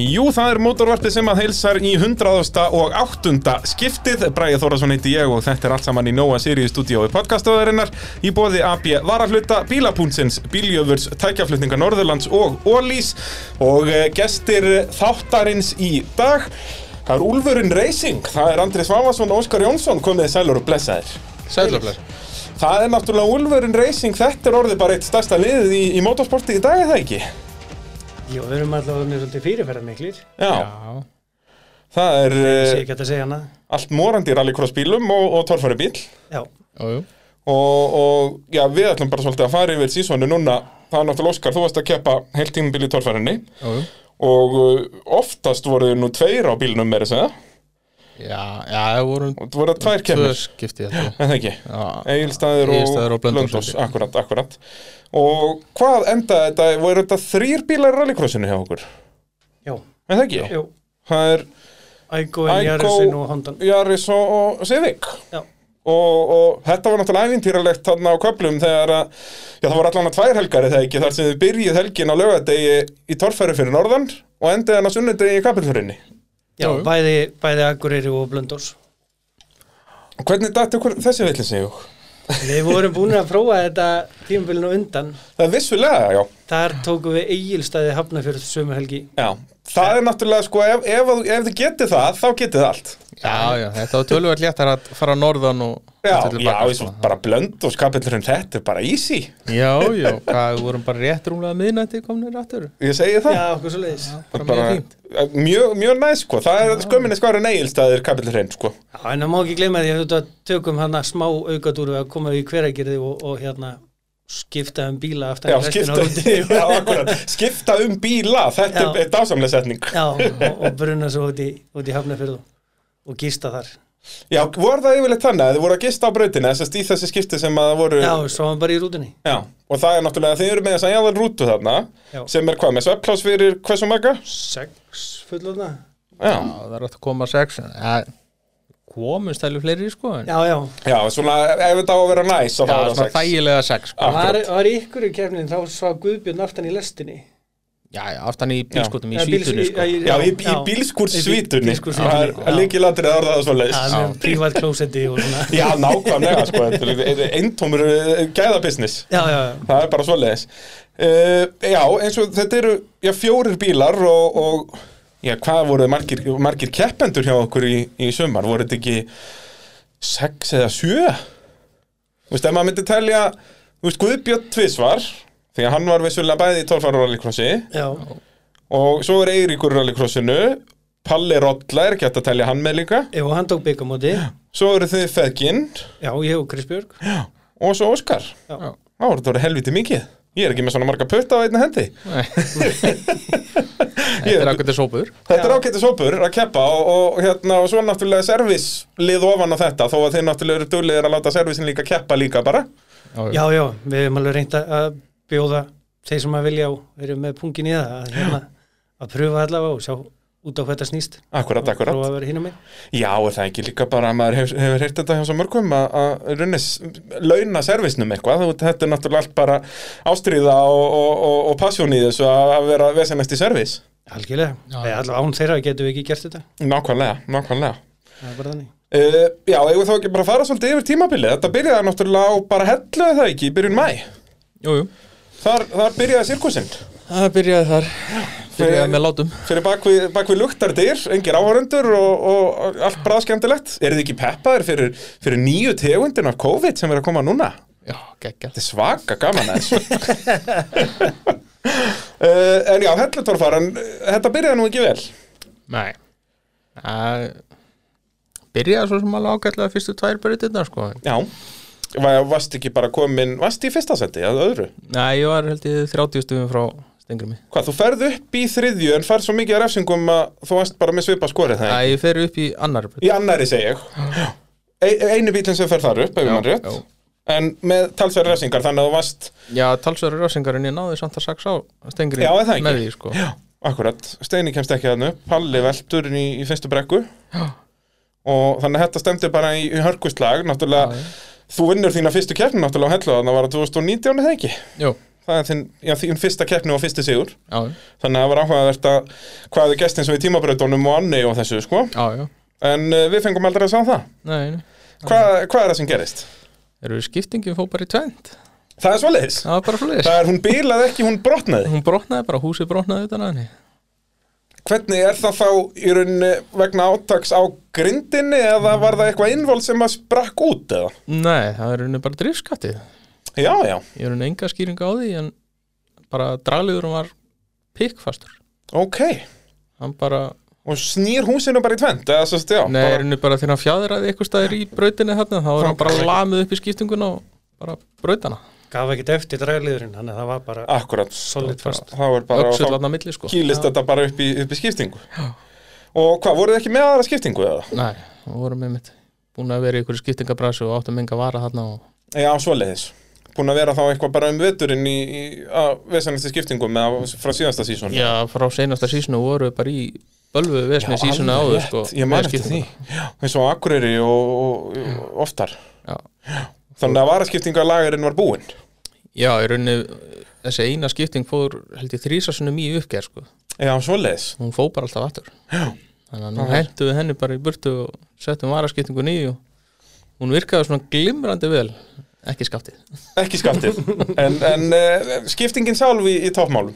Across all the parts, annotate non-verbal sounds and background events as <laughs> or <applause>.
Jú, það er mótorvarpið sem að heilsar í 100. og 8. skiptið. Bræði Þóraðsson heiti ég og þetta er allt saman í Nóa Sirius stúdíói podcastöðarinnar í bóði AB Varahluta, Bílapúntsins, Bíljöfurs, Tækjaflutninga Norðurlands og Ólís og eh, gestir þáttarins í dag. Það er Úlfurinn Racing, það er Andri Svavarsson og Óskar Jónsson, komið þið sælur og blessaðir. Sællöflar Það er náttúrulega Úlfurinn Racing, þetta er orðið bara eitt stærsta liðið í, í motorsporti í dag, er það ekki? Jú, við erum alltaf með svolítið fyrirferðar miklir. Já, Já, það er... Ég eh, sé ekki hægt að segja hana. allt morandi í rallycross bílum og, og torfæri bíl Já, já, já og, og já, við ætlum bara svolítið að fara yfir sísonu núna, það er náttúrulega Óskar, þú varst að keppa heilt tímabil í torfærinni Já, já. og uh, oftast voru nú tveir á bílnum meira segja, já, já, það voru og þú voru að tvær tvö kemur skipti þetta en það ekki, Já, Egilstaðir og Egilsstaðir og Blönduós, Blönduós, held ég. akkurat, akkurat og hvað enda þetta, voru þetta þrýr bílar í rallycrossinu hjá okkur, já, en það ekki já. það er Ægó, Igo- Jarrisin og Hondan. Jaris og, og Sivik Já, og, og þetta var náttúrulega ævintýralegt þarna á köflum þegar að, já það var allan að tvær helgar eða ekki þar sem þið byrjuð helgin á lögadegi í torfæri fyrir norðan og endið hann á sunnudegi í kapilfurinni. já, Já, já. bæði, bæði Akureyri og Blöndós. Hvernig dætti okkur þessi villin sig jú? Við vorum búin að prófa þetta tímabilinu undan. Það er vissulega, já. Þar tókum við Egilstaði Hafnafjörð sömu helgi. Já, það er náttúrulega sko ef, ef, að- ef þið getið það, þá getið það allt. Já, já, þetta var tölvöld léttar að fara norðan og Já, og til já, baka, eins sko. og bara blönd og kapillurinn þetta er bara easy. Já, já, hvað, við vorum bara rétt rúmlega miðnætti komnir aftur Ég segi það. eh, Já, okkur svo leiðis. bara mjög fínt. mjög, mjög næs sko, það er skömminni skvarinn eigilstaðir kapillurinn sko. Já, en það má ekki gleyma því að við tökum hana smá aukadúru að koma í hverjargerði og, og hérna skipta um bíla aftan Já, í restina skipta, af rútunni. <laughs> já, akkurat, skipta um bíla, þetta Já. er, er dásamlega setning. Já, og, og bruna svo út í, út í Hafnafjörð og- og gista þar. Já, voru það yfirleitt þannig að þið voru að gista á brautina þess að stíð þessi skipti sem að það voru... Já, svo hann bara í rútunni. Já, og það er náttúrulega að þið eru með þess að jáðan rútu þarna, Já. sem er hvað, með svepplás fyrir hversu maga? Sex fullorna? Já. Já, það er aftur að koma sex en ja, komust alveg fleiri sko en, Já, já. Já, svona, ef þetta á að vera næs, þá Já, er það svona sex. þægilega sex sko. Var, var í ykkur í kefnin þá sá Guðbjörn aftan í lestinni. Já, já, aftan í bílskotum í Eða bíls- svítunni sko Já, í, í bílskúrssvítunni, það bílskúrssvítunni, er já. líkilatrið að orða það svo Já, leiðis. með prívat klósetti og svona. Já, nákvæmlega, sko, þetta er eintómur eh, gæðabusiness. Já, já, já. Það er bara svoleiðis uh, Já, eins og þetta eru já, fjórir bílar og, og já, hvað voru margir, margir keppendur hjá okkur í, í sumar? Voru þetta ekki sex eða sjö? Þú veist, ef maður myndi telja Þú veist, Guðbjörn Tvisvar því að hann var vissulega bæði í torfara rallycrossi Já, og svo er Eiríkur í rallycrossinu Palli Rolla er ekki hægt að telja hann með líka Jú, hann tók byggamóti. svo eru þið Feðginn Já, ég og Chris Björg. og svo Óskar Já. Já, þetta voru helviti mikið Ég er ekki með svona marga putta á einni hendi Nei. <laughs> Þetta er akkur til sópur Þetta er Já. ágættis hópur að keppa og, og, hérna, og svo náttúrulega servislið ofan á þetta þó að þeir náttúrulega eru duglegir að láta servisin líka keppa líka bara Já, já, við hefum alveg reynt að- að bjóða þeir sem að vilja og erum með pungin í það að, hérna, að pröfa allavega og sjá út á hvað þetta snýst. Akkurat, Prófa akkurat að vera hínum með. Já, er það ekki líka bara að maður hefur, hefur heyrt þetta hjá svo mörgum að- að runnis launa servisnum eitthvað þú, þetta er náttúrulega allt bara ástríða og, og, og, og passjón í þessu að að vera vesenast í servis Algjörlega. Já. Eða allavega án þeirra getum við ekki gert þetta. Nákvæmlega, nákvæmlega Það er bara þannig. uh, Já, eigum við þá ekki bara að fara svolítið yfir tímabilið Þetta byrjaði náttúrulega á bara hellu er það ekki í byrjun mæ Jú, jú, Þar, þar byrjaði sirkusinn það byrjaði þar Byrjaði með látum fyrir bak við, bak við luktardyr, engir áhörundur og, og allt bara skemmtilegt. Er þið ekki peppaðir fyrir, fyrir nýju tegundin af COVID sem er að koma núna? Já, geggjað Þetta er svaka gaman aðeins. uh, en já, hellutorfaran, þetta byrjaði nú ekki vel. Nei Það byrjaði svo sem alveg ágætlega fyrstu tvær breytirnar sko Já, Va- varst ekki bara komin, varst í fyrsta seti eða öðru? Nei, ég var held ég 30 stufum frá Stengrimi Hvað, þú ferð upp í þriðju en færð svo mikið að refsingum að þú varst bara með svipa skorið það? ekki? Nei, ég fer upp í annar breytir Í annari segi ég. Já. E- Einu bílinn sem fer þar upp, ef ég mann rétt. já. En með talsverð refsingar, þannig að þú varst Já, talsverður rásingar en ég náði samt að sax á Stengrimi Já, er það ekki? með því sko Já, akkurat, Steini kemst ekki þarna upp Palli veltur í, í fyrstu brekku Já. og þannig að þetta stemdi bara í, í hörkuslag náttúrulega, þú vinnur þína fyrstu keppni náttúrulega á hellu þarna var það 2019 eða ekki Jú, það er þinn, já, þín fyrsta keppni og fyrsti sigur já, þannig að það var áhugavert að hvað er gestinn sem í tímabrautunum og annei og þessu sko já, já, en uh, við fengum aldrei að sá það nei, nei. Hva, hvað er það sem gerist? Eru skiptingin fór bara í tvend Það er svoleiðis Það var bara fleiri Það er hún bílað ekki, hún brotnaði Hún brotnaði bara, húsið brotnaði utan að henni Hvernig er það þá í rauninni vegna átaks á grindinni eða var það eitthvað innvóld sem að sprakk út eða? Nei, það er henni bara drifskattið Já, já, Ég er henni enga skýringa á því en bara dragliðurum var pikkfastur ok Hann bara, Og snýr húsinu bara í tvend eða svo stjá nei, er henni bara þegar hann fjadraði eitthvað staðir í brautinni þarna þá er hann bara lamið upp í skiptinguna og bara brautana gaf ekkert eftir dragliðurinn þannig að það var bara Akkurat, solid fast það var bara Öxull þá hann að milli sko kýlist þetta bara upp í, upp í skiptingu já. Og hvað, voruð þið ekki með aðra skiptingu eða? Nei, það vorum við mitt búin að vera í einhverju skiptingabræsu og áttum enga vara þarna og Já, svoleiðis Búin að vera þá eitthvað bara um veturinn í, í að vesanasti skiptingum eða frá síðasta sísón Já, frá senasta sísonu vorum við bara í bölvu vesni sísonu áður sko Ég með man eftir því skiptinguna. Já, eins og á Akureyri og, og, og oftar Já. Þannig að varaskiptingalagurinn var búinn Já, í rauninni þessi eina skipting fór held ég þrísasunum í uppgerð sko Já, svoleiðis hún fó bara alltaf aftur þannig að nú hentum við henni bara í burtu og settum varaskiptingu nýju og hún virkaði svona glimrandi vel ekki skaftið Ekki skattið <laughs> En, en uh, skiptingin sjálf í, í toppmálum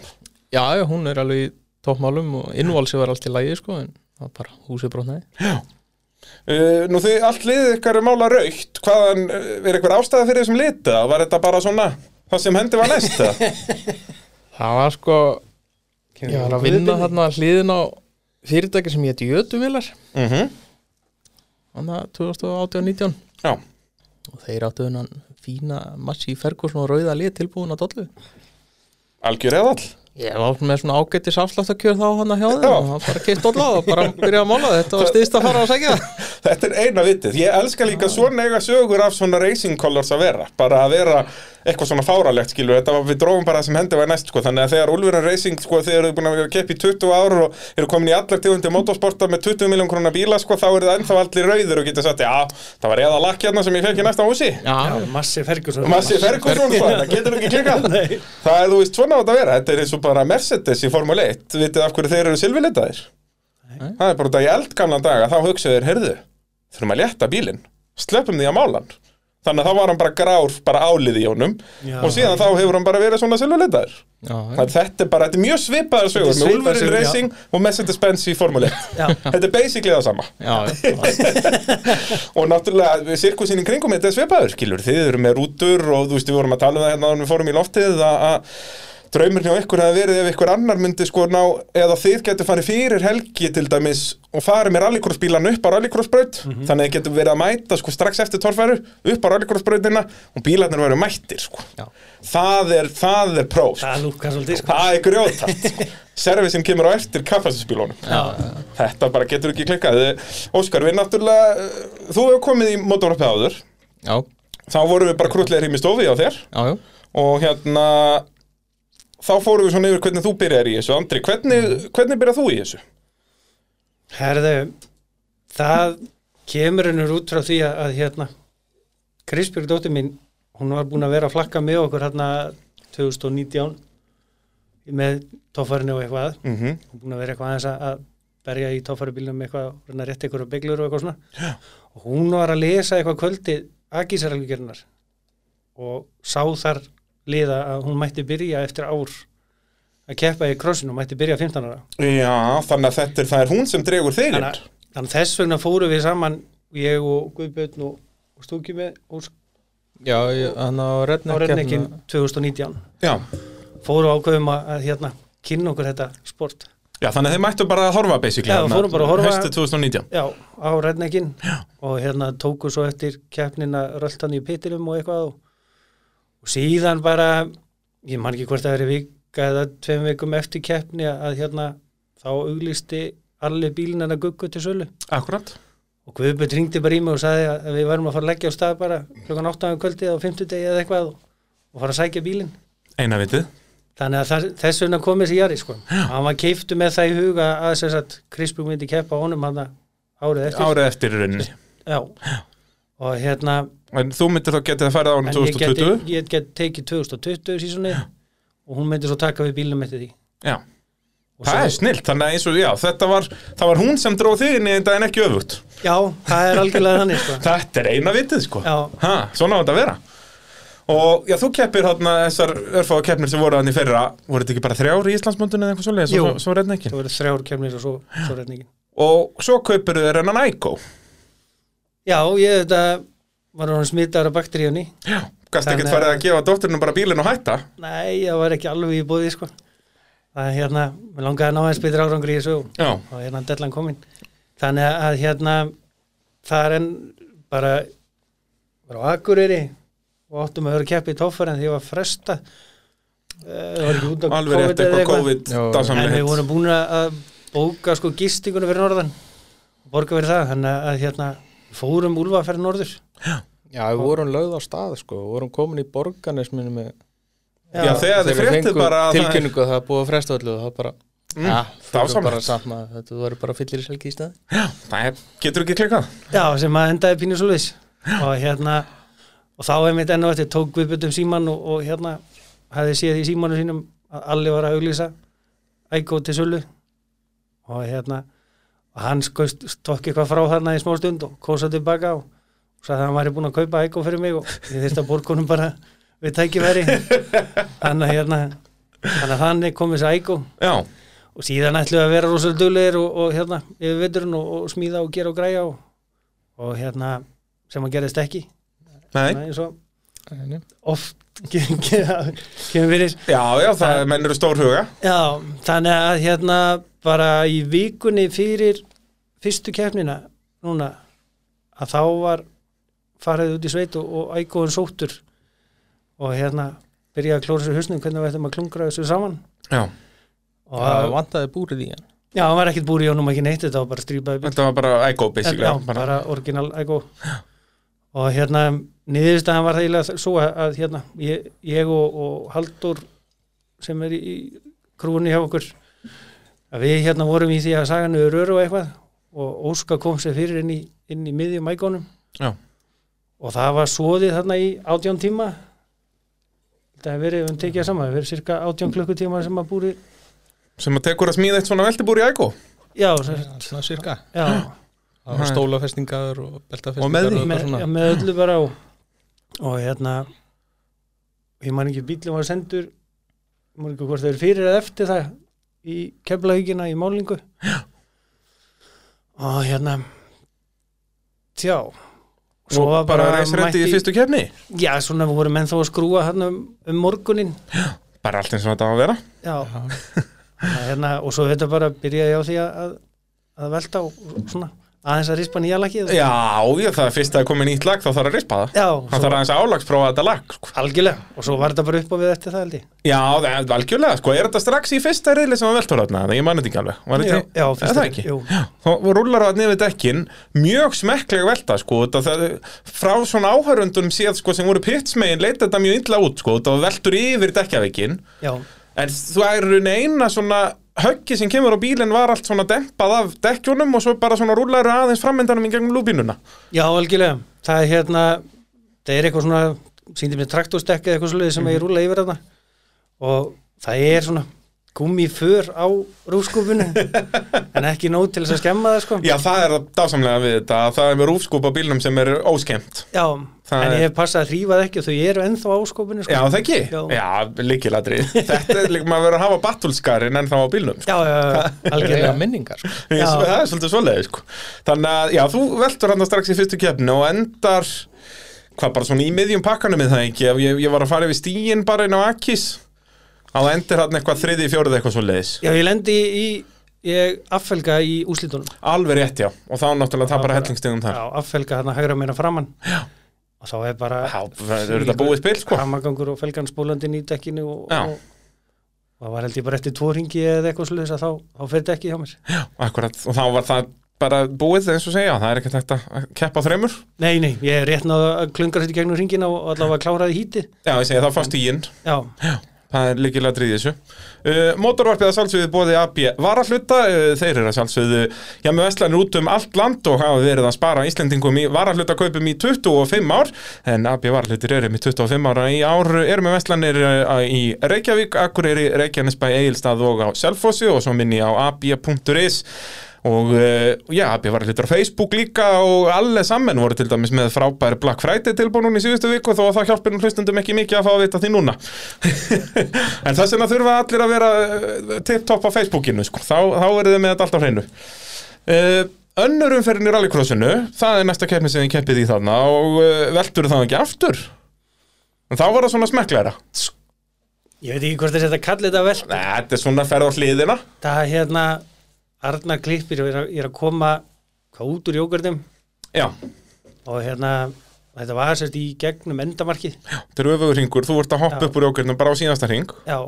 já, já, hún er alveg í toppmálum og innválsi var allt í lægi sko en það var bara húsið brotnaði Uh, nú þið, allt liðið ykkar er mála raukt hvaðan, uh, er eitthvað ástæða fyrir þessum lita var þetta bara svona það sem hendi var næst eða? <laughs> það var sko ég var að vinna þarna hliðin á fyrirtæki sem ég heti Jötuvilar Mhm. þannig að 2018-19 já, og þeir áttu hennan fína massi í Ferguson og rauða lið tilbúin að dollu algjör eða all Ég var með svona ágættis afsláttakjör þá hann að hjá þeim Já. og það bara keitt alla og bara byrjaði að mála þetta var stiðst að fara að segja þetta er eina vitið, ég elska líka svona eiga sögur af svona racing colors að vera bara að vera eitthvað svona fáralegt skilur, þetta var, við drófum bara það sem hendi var næst sko. þannig að þegar Ulfurinn Racing, sko, þegar eru búin að vera að keppa í 20 ár og eru komin í allar tegundir motorsporta með 20 miljón krónar bíla sko, þá eru það ennþá allir rauður og getur sagt já, það var eða lakkjarna sem ég fekk í næsta húsi Já, Massi Ferguson Massi Ferguson, sko, það getur ekki klikkað <laughs> Nei. Það er, þú veist, svona á þetta að vera Þetta er eins og bara Mercedes í Formule 1 Vitið af hverju þeir eru silfurlitaðir? Það er bara út að í eldgamla daga Þá hugsaðu þeir, heyrðu, þurfum að létta bílinn Sleppum því að mála hann Þannig að þá var hann bara grár, bara álið í honum Já. Og síðan þá hefur hann bara verið svona silfurlitaður já, Þannig að þetta er bara, þetta er mjög svipaðar sögur Með svipaðar Ulfurinn sögur, já. Racing og Mercedes-Benz í Formule 1 Já. Þetta er basically það sama já, já, Og náttúrulega sirkusinn í kringum þetta er svipaður, skilur, þið eru með rútur og þú veist, við vorum að tala um það hérna áður en við fórum í loftið að, að draumurinn hjá ykkur hefði verið ef ykkur annar myndi sko ná, eða þið getur farið fyrir helgi til dæmis og farið með rallycrossbílan upp á rallycrossbraut, þannig að þið getur verið að mæta sko strax eftir torfæru upp á rallycrossbrautina og bílarnir verið mættir sko. já. Það er, það er pró, sko. Það lúkar svolítið sko það er grjótart, <laughs> sko. Servicin kemur á eftir kaffasinsbílunum. já. Þetta bara getur ekki klikkað Eh, Óskar, við náttúrulega eh, Þú hefur komið í motorvarpið áður já, Þá vorum við bara krútlegir heim í stofi á þér já, já. Og hérna Þá fórum við svona yfir hvernig þú byrjar í þessu Andri, hvernig, hvernig byrjar þú í þessu? Herðu, það kemur hennur út frá því að, að hérna, Krisbjörg dóttir mín, hún var búin að vera að flakka með okkur hérna 2019 með tóffarinu og eitthvað, Mm hún búin að vera eitthvað aðeins að- að berja í tóffarubílnum eitthvað og reyna að rétta ykkur á bygglur og eitthvað svona Já. og hún var að lesa eitthvað kvöldi agísaralvíkjörnar og sá þar liða að hún mætti byrja eftir ár að keppa í krossinu, hún mætti byrja 15 ára Já, þannig að þetta er, það er hún sem dregur þig inn þannig, að- þannig að þess vegna fórum við saman ég og Guðbjörn og, og Stúki með Ósk Já, ég- hann á á Redneckin Rennekin 2019 Já. fórum ákveðum að, að hérna kynna okkur þetta sport Já, þannig að þið mættu bara að horfa basically Já, þarna, fórum bara að horfa. Haustið 2019 já, á Rennekin og hérna tóku svo eftir keppnina röltan í pitinum og eitthvað og, og síðan bara ég man ekki hvort það verið vika eða tveim vikum eftir keppni að, að hérna þá auglisti allir bílinana guggu til sölu Akkurat og Guðbjörn ringdi bara í mig og sagði að við værum að fara að leggja á stað bara klokkan 8 á kvöldi á 50 degi eða eitthvað og, og fara að sækja bílinn Eina vitið þannig að það, þess vegna kom þessi jari sko. hann var keiftu með það í huga að sem sagt Krispjörn myndi keppa á honum hann árið eftir Árið eftir í rauninni Já. og hérna En þú myndir þá getið að fara á hann en 2020 ég get, ég get tekið 2020 sísunni og hún myndi svo taka við bílnum eftir því Já, Og það svo- er snilt, þannig að eins og, já, þetta var, það var hún sem dróð þig inn í þetta en ekki öfugt. Já, það er algjörlega <laughs> þannig sko. Þetta er eina vitið, sko. Já. Ha, svona á þetta að vera. Og, já, þú keppir þarna, þessar örfáða keppnir sem voru þannig fyrra, voru þetta ekki bara þrjár í Íslandsmundinu eða eitthvað svoleiðis Jú. og svo, svo reyna ekki. Það verður þrjár kemnir og svo, svo reyningin Og svo kaupir þau rennan Aiko. Já, ég þetta var hann smitaður af bakteríunni Já. Gast ekkert Þannig að- farið að gefa dótturinu bara bílinn og hætta. Nei, ég var ekki alveg í bóði sko. Það er hérna, mér langaði að ná eins betur árangri í þessu og- Já. og hérna dellan komin Þannig að hérna það er enn bara var á Akureyri og áttum að vera að keppa í tóffar en því ég var fresta Það var ekki út af Alveg rétt COVID eða eitthvað eitthvað COVID, Já, já. dásamlega En við hitt. vorum búin að bóka sko gistinguna fyrir norðan og borga fyrir það, þannig að hérna fórum úlfa að ferða norður Já, við vorum lögð á stað sko, við vorum komin í borgarnesminu með Já, þegar þið við fréttið fengum bara að það- tilkynningu að það er búið að fresta öllu og það bara, Mm, ja, dásamlegt. bara saman, þetta voru bara fyllir í selgi í stað Það er- getur ekki klikkað. Já, sem að endaði pínu svo leis og hérna og þá einmitt enn og eftir tók Guðbjörn um síman og, og hérna hafði séð í símanu sínum að allir var að auglýsa ægó til sölu og hérna og hann skoist stokk eitthvað frá þarna í smá stund og kósa tilbaka og sagði að hann væri búin að kaupa ægó fyrir mig og ég þyrst að borgunum bara við tækifæri þannig að hérna þannig að þannig kom þessi ægó Já. og síðan ætlum við að vera rosalega duglegir og, og hérna yfir veturinn og, og smíða og gera og græja og, og hérna sem að gerist ekki Nei. Nei, eins og Nei, nei. oft <laughs> ge- ge- kemur fyrir Já, já, það er mennur stór huga. já, þannig að hérna bara í vikunni fyrir fyrstu keppnina núna að þá var farið út í sveit og, og ægóðan sóttur og hérna byrjaði að klóra sér husnum hvernig við ættum að klungra þessu saman Já. og það vantaði búrið í hann já, hann var ekkert búri í honum ekki neitt þetta var bara strýpaði bíl Þetta var bara Aiko, basically. Já, bara, orginal Ego og hérna niðurstaðan var það svo að, að hérna, ég, ég og, og Haldur sem er í, í krúinu hjá okkur að við hérna vorum í því að saga niður öru og eitthvað og Óska kom sér fyrir inn í, inn í miðjum ægónum Já. og það var svoðið þarna í átján tíma þetta hefur verið, við höfum tekið það saman, það hefur verið cirka átján klukkutíma sem að búri Sem að tekur að smíða eitt svona veltibúr í Aiko. já, sem, svona cirka, já, það var Nei. stólafestingar og beltafestingar Og með því. eitthvað með, svona. já, með öllu bara og, og hérna ég man ekki bílum var sendur ég man ekki hvort þau eru fyrir eða eftir það í keflaugina í málingu já. og hérna tjá Svo var bara reisrætti í fyrstu kefni. já svona við vorum ennþá að skrúa hérna um, um morgunin Bara allt eins og þetta á að vera. já, Já. Þannig að hérna, og svo þetta bara byrjaði ég á því að, að- að velta og og svona aðeins að rispa nýja lakið Já, já, það er fyrst að komið nýtt lag, þá þarf að rispa það. já Hann þarf aðeins að álagsprófa þetta lag. Sko. algjörlega og svo var þetta bara upp á við eftir það held ég Já, það er algjörlega, sko. Er þetta strax í fyrsta reyli sem að veltur þarna? Það ég manna þetta ekki alveg. Var Já, þetta já, Er fyrsta það reyli, ekki? jú. Já, þá rullar það niður dekkin, mjög smekkleg velta, sko. Það, það, frá svona áhörundunum séð, sko, sem voru pittsmegin, leita þetta mjög illa út, sko. Það veltur yfir dekkjaveikin. já En þú er raun eina svona höggi sem kemur á bílinn var allt svona dempað af dekkjunum og svo bara svona rúlaður aðeins framöndanum í gegnum lúbínuna. Já, algjörlega. Það er hérna, það er eitthvað svona, síndi mér traktorstekki eða eitthvað svolítið Mhm. sem ég rúla yfir þarna og það er svona gummi för á <laughs> rúfskúfinu en ekki nóg til þess að skemma það sko. Já, það er það dásamlega við þetta. að Það er með rúfskúpa á bílnum sem er óskemmt. Já, Það en er- ég hef passað að þrýfa það ekki og þau eru ennþá á skúfinu sko. Já, það ekki? Já. Já, líkilatri. <laughs> Þetta er líka maður verið að hafa battulskarinn en þá á bílnum. <laughs> Sko. Já, já, já, Eiga algjörlega. minningar sko. Já. Það er svolítið svoleiði, sko. Þannig að, já, þú veltur hann strax í fyrstu keppni og endar, hvað bara svona í miðjum pakkanum er það ekki? Ég, ég var að fara yfir stíin bara inn á Akis á endur hann eitthvað þriði, fjórið eitthvað svoleiðis. Já, ég lendi í, ég affelga í úslitunum. Alveg rétt, já, og þá náttúrulega tapar bara- hellingstegum þar Já, affelga þarna hægra meina framann. Já. Og þá er bara Já, það eru þetta búið spil, sko hamagangur og felgan spólandi í dekkinu og, Já. og og það var held ég bara eftir tvo ringi eða eitthvað sluðis að þá, þá fer dekki hjá mér Akkurat, og þá var það bara búið eins og segja, það er ekkert hægt að keppa á þremur Nei, nei, ég er rétt náðu að klunga þetta gegnum ringina og allavega kláraði hítið Já, ég segi það fannst í inn Já, Það er líkilega drýðið þessu. Uh, Mótorvarpið að sjálfsögðu bóði AB varahluta. Uh, þeir eru að sjálfsögðu hjá með veslanir út um allt land og hafa verið að spara Íslendingum í varahluta í 25 ár. En AB varahlutir eru með 25 ára í ár. Eru með veslanir uh, í Reykjavík, Akureyri, Reykjanesbæ, Egilstað og á Selfossi og svo minni á ab.is. Og uh, já, AB var hlutur á Facebook líka og alle sammen voru til dæmis með frábæri Black Friday tilbúið núna í síðustu viku þó að það hjálpir nú hlustundum ekki mikið að fá að vita því núna. <laughs> en þess vegna þurfa allir að vera tipptopp á Facebookinu, sko. Þá, þá eru þið með þetta allt á hreinu. Uh, önnur umferðin í rallycrossinu, það er næsta keppni sem þið keppið í þarna og uh, veldur það ekki aftur. En þá var það svona smekklæra. Ég veit ekki hvort þess að þetta kallið þetta vel Nei, þetta er svona ferð á hliðina. Það er hérna Arnar Klippir er að, er að koma hvað út úr jógurðum Já, og hérna þetta var sérst í gegnum endamarkið þetta er öfugur hringur, þú vart að hoppa Já. upp úr jókernum bara á síðasta hring. Já,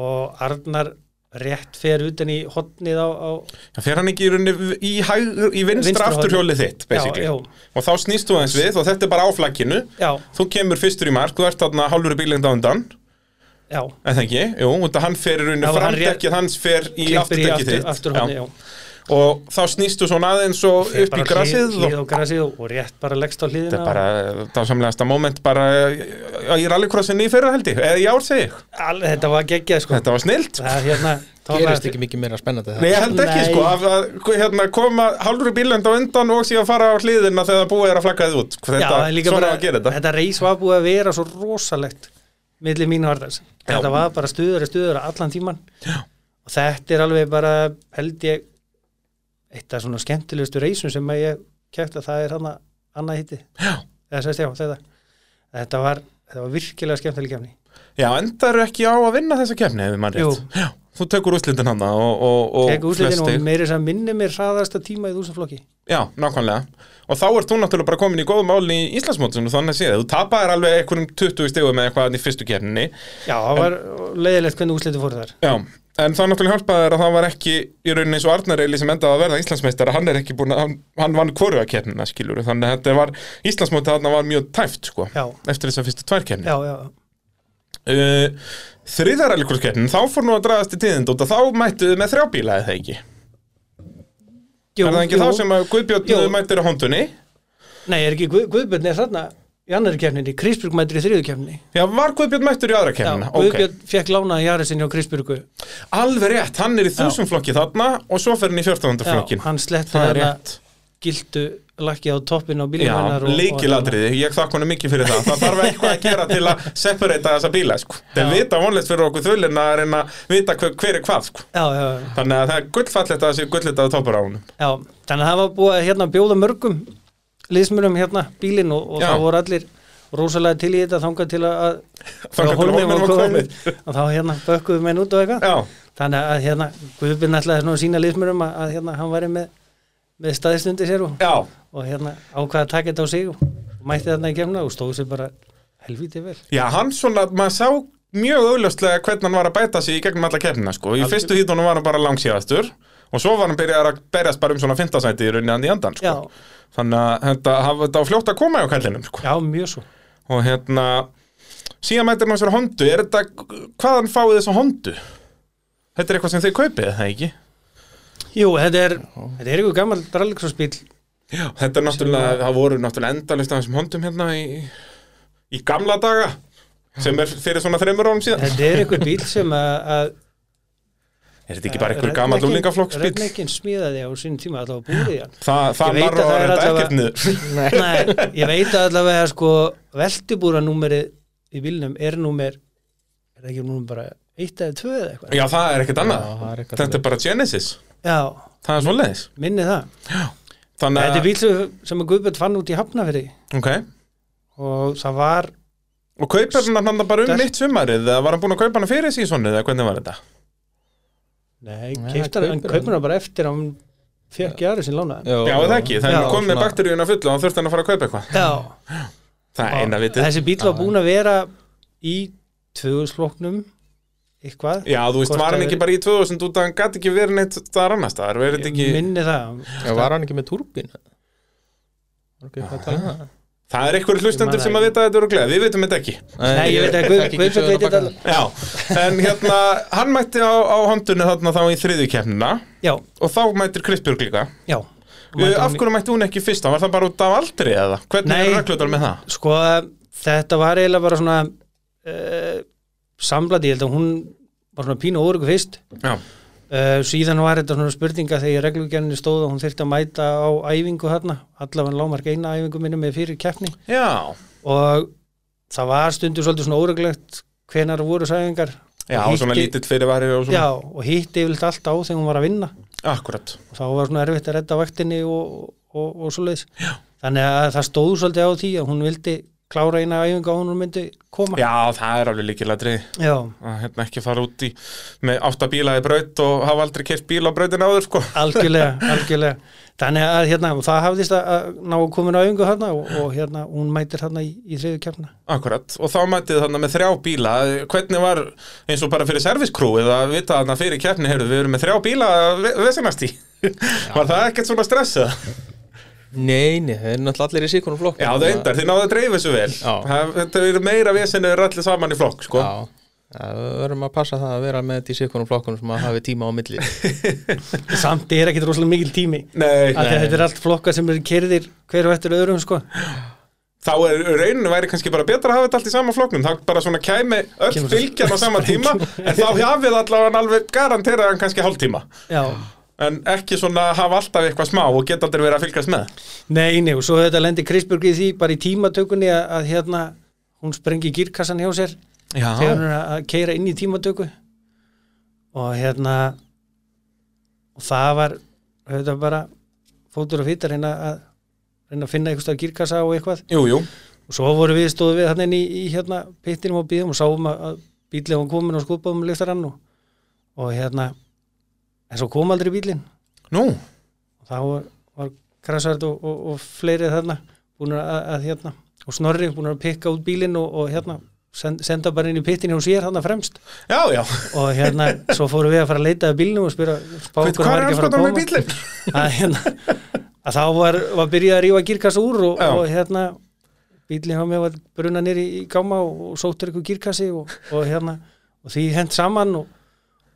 og Arnar rétt fer utan í hotnið á, á Það fer hann ekki í, rauninni í, hæg, í vinstra, Vinstra afturhjólið þitt, basically. já, Og þá snýst þú aðeins við og þetta er bara á flagginu. já, Þú kemur fyrstur í mark, þú ert þarna hálfur bílengd á undan, já eða ekki? Jú, og þetta hann fer í rauninu Já, hann framdekkið, hans fer í klippir í afturdekkið aftur, þitt. aftur hotnið, já, Og þá snýst þú svona aðeins og Fer upp í bara grasið hlið, og... hlið og grasið og, og rétt bara leggst á hliðina Þetta er bara, það samlegasta moment bara eh, í rallycrossinni í fyrra held ég, eða í ár segi ég. og, al, þetta var geggjað sko Þetta var snilt. það er hérna þá var- Gerist ekki mikið meira Nei, spennandi það ég held ekki Nei. sko, að, að hérna, koma hálfur bílend á undan og síðan fara á hliðina þegar búið er að flagga þið út. Sko, Þetta, já, það er líka svona bara, að gera þetta. þetta reys var búið að vera svo rosalegt milli mínu hardars þetta var bara stuður og stuður allan tíman já. og þetta er alveg bara held ég eitt af svona skemmtilegustu reysum sem að ég kæft að það er hana annað hitti já. eða sérst já, þetta þetta var, þetta var virkilega skemmtileg kemni Já, endar ekki á að vinna þessa kefni ef mann rétt. Jú. Já, þú tekur úslindin hann og, og, og tekur útlitinu flest og stig. meiri sem minni mér hraðasta tíma í þúsaflokki Já, nákvæmlega. Og þá ert þú náttúrulega bara komin í góðum mál í Íslandsmótinu þannig að séð. Þú tapaðir alveg einhverjum 20 stigum með eitthvað þarna í fyrstu kefninni. já, það var leiðilegt hvernig útlitinu fór þar Já, en það náttúrulega hjálpaði þér að það var ekki í rauninni eins og Arnar Eili sem endaði að verða Íslandsmeistar hann er ekki búin að, hann, hann vann hvoru að kefnina skilur þannig að þetta var, Íslandsmótið þarna var mjög tæft sko, Já. eftir þess að fyrstu tvær kefni já, já, uh, Þriðarallíkurskeppnin, þá fór nú að draðast í tíðind og þá mættuðu með þrjá bíla eða ekki jú, Er það ekki þá sem að Jú. Guðbjörn mættir á hóndunni? Nei, er ekki Guð, Guðbjörn er þarna í annari kefninni, Krisbjörg mætir í þriðu kefninni Já, var Guðbjörn mættur í aðra Já, kefnina? Guðbjörn fekk lánaði Jarisinni á Krisbjörgu Já, Alveg rétt, hann er í þúsumflokki þarna og svo fer hann í fjórtafundaflokkin hann sletti Það er þarna rétt gildu lakki á toppin á bílum Já, hennar og- leikilatriði, ég þakka honum mikið fyrir það Það þarf eitthvað að gera til að separata þessa bíla sko. Það Já. vita vonlist fyrir okkur þulinn að reyna að vita hver, hver er hvað sko. og- Já, já, já, Þannig að það er gullfallegt að það sé gullitaði toppur á honum já, þannig að það var búið að hérna bjóða mörgum liðsmurum hérna bílinn og, og Já. það voru allir rosalega til í þetta þangað til að- að Þangað til að hólminn hólminn var komið. <laughs> og þá hérna bökkuðu menn út og eitthvað Já, þannig að hérna Guðbjörn ætlaði svona að sína liðsmurum að, að hérna hann væri með, með staðistundi sér og, já og hérna ákvaða að taka þetta á sig og og mætti þarna í kemna og stóð sér bara helvítið vel Já, hann svona, maður sá mjög auðljóslega hvernig hann var að bæta sig í gegnum alla keppnina sko. Í fyrstu hítunum var hann bara langsíðastur og svo var hann byrjað að berjast bara um svona fintasæti í rauninni hann í andan sko. Já, Þannig að þetta, þetta var fljótt að koma hjá kallinum sko. já, mjög svo og hérna síðan mætir maður sér hondu er þetta, hvaðan fáið þessa hondu? Þetta er eitthvað sem þið kaupið, er það ekki? Jú, þetta er, þetta er eitthvað gammal rallycrossbíl Já, þetta er náttúrulega, það voru náttúrulega endalist af þessum hondum hérna í, í gamla daga sem er fyrir svona þreymur árum síðan Þetta er eitthvað bíl sem að að- Er þetta ekki bara einhver gammal Redneckinn- úlingaflokksbíll? Redneckinn smíðaði á sín tíma allavega búið í hann Það, það Ég veit narra að það var þetta er allavega- ekkert niður <laughs> Nei, ég veit að allavega sko veltubúra númerið í bílnum er númer er það ekki númer bara 1 eða 2 eða eitthvað Já, það er ekkert Já, annað það er eitthvað Þetta er bara Genesis, Já, það er svoleiðis minni það Þetta Þannig er að, bíl sem- sem að Guðbjörn fann út í Hafnafyrði ok og það var Og kaupir hann hann bara um Sterkt. mitt sumarið eða var hann búin að kaupa hann fyrir sísonið eða hvernig var þetta? Nei, Nei, keiftar hann, kaupir kaupir hann bara eftir að hann fekk jarðu sín lánaðan. Já, það ekki, það er Já, komið með svona- bakteríuna fullu og hann þurfti hann að fara að kaupa eitthvað Já, Það er eina vitið. þessi bíl var búin að vera í tvöðusfloknum eitthvað. Já, þú veist, Hvort var hann það ekki er- bara í 2000 út að hann gæti ekki verið neitt þar annars staðar, verið Ég ekki... minni það. Já, var hann ekki með turbín? Var ekki eitthvað að tala um það? Það er einhverjur hlustendur Ég man sem það að vita þetta eru gleð, við vitum þetta ekki. Nei, ég veit að Guð- Guðbjörn veit þetta alveg. Já, en hérna, <laughs> hann mætti á, á hondunni þarna þá í þriðju keppnina Já, og þá mættir Kristbjörg líka. já Mætti Af hverju mætti hún ekki fyrst? Var það bara út af aldri eða? Hvernig Nei. er reglutar með það? Sko, þetta var eiginlega bara svona uh, samblandi, ég held að hún var svona pínu óryggu fyrst Já, uh, síðan var þetta svona spurninga þegar reglugjörninni stóð og hún þyrfti að mæta á æfingu þarna, allavega lámark eina æfingu minni með fyrir keppni já, og það var stundu svolítið svona óreglegt hvenar voru sæfingar já, Og svona hitti- lítill fyrirværi og svona. Já, og hitti yfirleitt allt á þegar hún var að vinna Akkurat. og þá var svona erfitt að redda vaktinni og, og, og svoleiðis Já. þannig að það stóð svolítið á því að hún vildi klára eina æfingu á hún hún myndi koma Já, það er alveg líkilatrið Já, að hérna ekki fara út í með átta bíla í braut og hafa aldrei kert bíl á brautin áður sko. algjörlega, algjörlega þannig að hérna, það hafðist að- að ná að koma inn á æfingu þarna og, og hérna, hún mætir þarna í, í þriðu kefna Akkurat, og þá mætið þarna með þrjá bíla hvernig var, eins og bara fyrir serviskrú eða vita þarna fyrir keppni, heyrðu, við erum með þrjá bíla að ve- vesenast í var það ekkert svona stressað? Nei, nei, það er náttúrulega allir í síkunum flokk Já, það endar, þið náðu að dreifu þessu vel Já. Það- þetta eru meira vesenu er allir saman í flokk sko. Já, það verðum að passa það að vera með þetta í síkunum flokkunum sem að hafi tíma á milli samt er ekkit rosalega mikil tími Nei, af því að þetta er allt flokka sem eru kerðir hver og eftir öðrum sko þá er rauninu væri kannski bara betra að hafa þetta allt í sama flokknum, þá bara svona kæmi öll Kemur svo- fylgjan á sama tíma en þá hafið allavega alveg garanteraðan kannski hálftíma Já, En ekki svona hafa alltaf eitthvað smá og geta aldrei verið að fylgjast með Nei, nei, og svo þetta lendi Krisbjörg í því bara í tímatökunni að, að hérna hún sprengi gírkassan hjá sér Já, þegar hún er að- að keira inn í tímatöku og hérna og það var þetta bara fótur og fýtar reyna að reyna að finna einhverstað gírkassa og eitthvað jú, jú og svo voru við stóðu við hann inn í, í hérna pittinum og býðum og sáum að, að bílið var komin og skoðbáðum lyktarann og, og hérna en svo kom aldrei bílinn Nú, þá var, var Krasvart og, og, og fleiri þarna búin að, að hérna og Snorri búin að pikka út bílinn og, og hérna send, senda bara inn í pittinni og sér þarna fremst já, já og <laughs> hérna svo fórum við að fara að leita að bílnum og spyrja spá Veit, Hvað er anskotan með bílinn? að, hérna, að þá var, var byrjað að rífa gírkassa úr og, Já. og hérna bílinn hjá mér var bruna nýri í gáma og, og sóttur ykkur gírkassi og, og hérna og því hent saman og,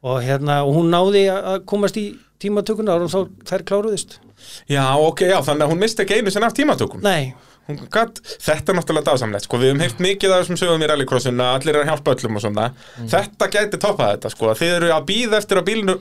og hérna og hún náði að að komast í tímatökuna og þá þær kláruðist Já, ok, já, þannig að hún misti ekki einu sinna af tímatökum Nei, Hún gat, þetta er náttúrulega dásamlegt, sko Við hefum heyrt mikið af þessum sögum í rallycrossinu að Allir er að hjálpa öllum og svona Mm. Þetta gæti toppað þetta, sko að Þið eru að býða eftir að, bílinu,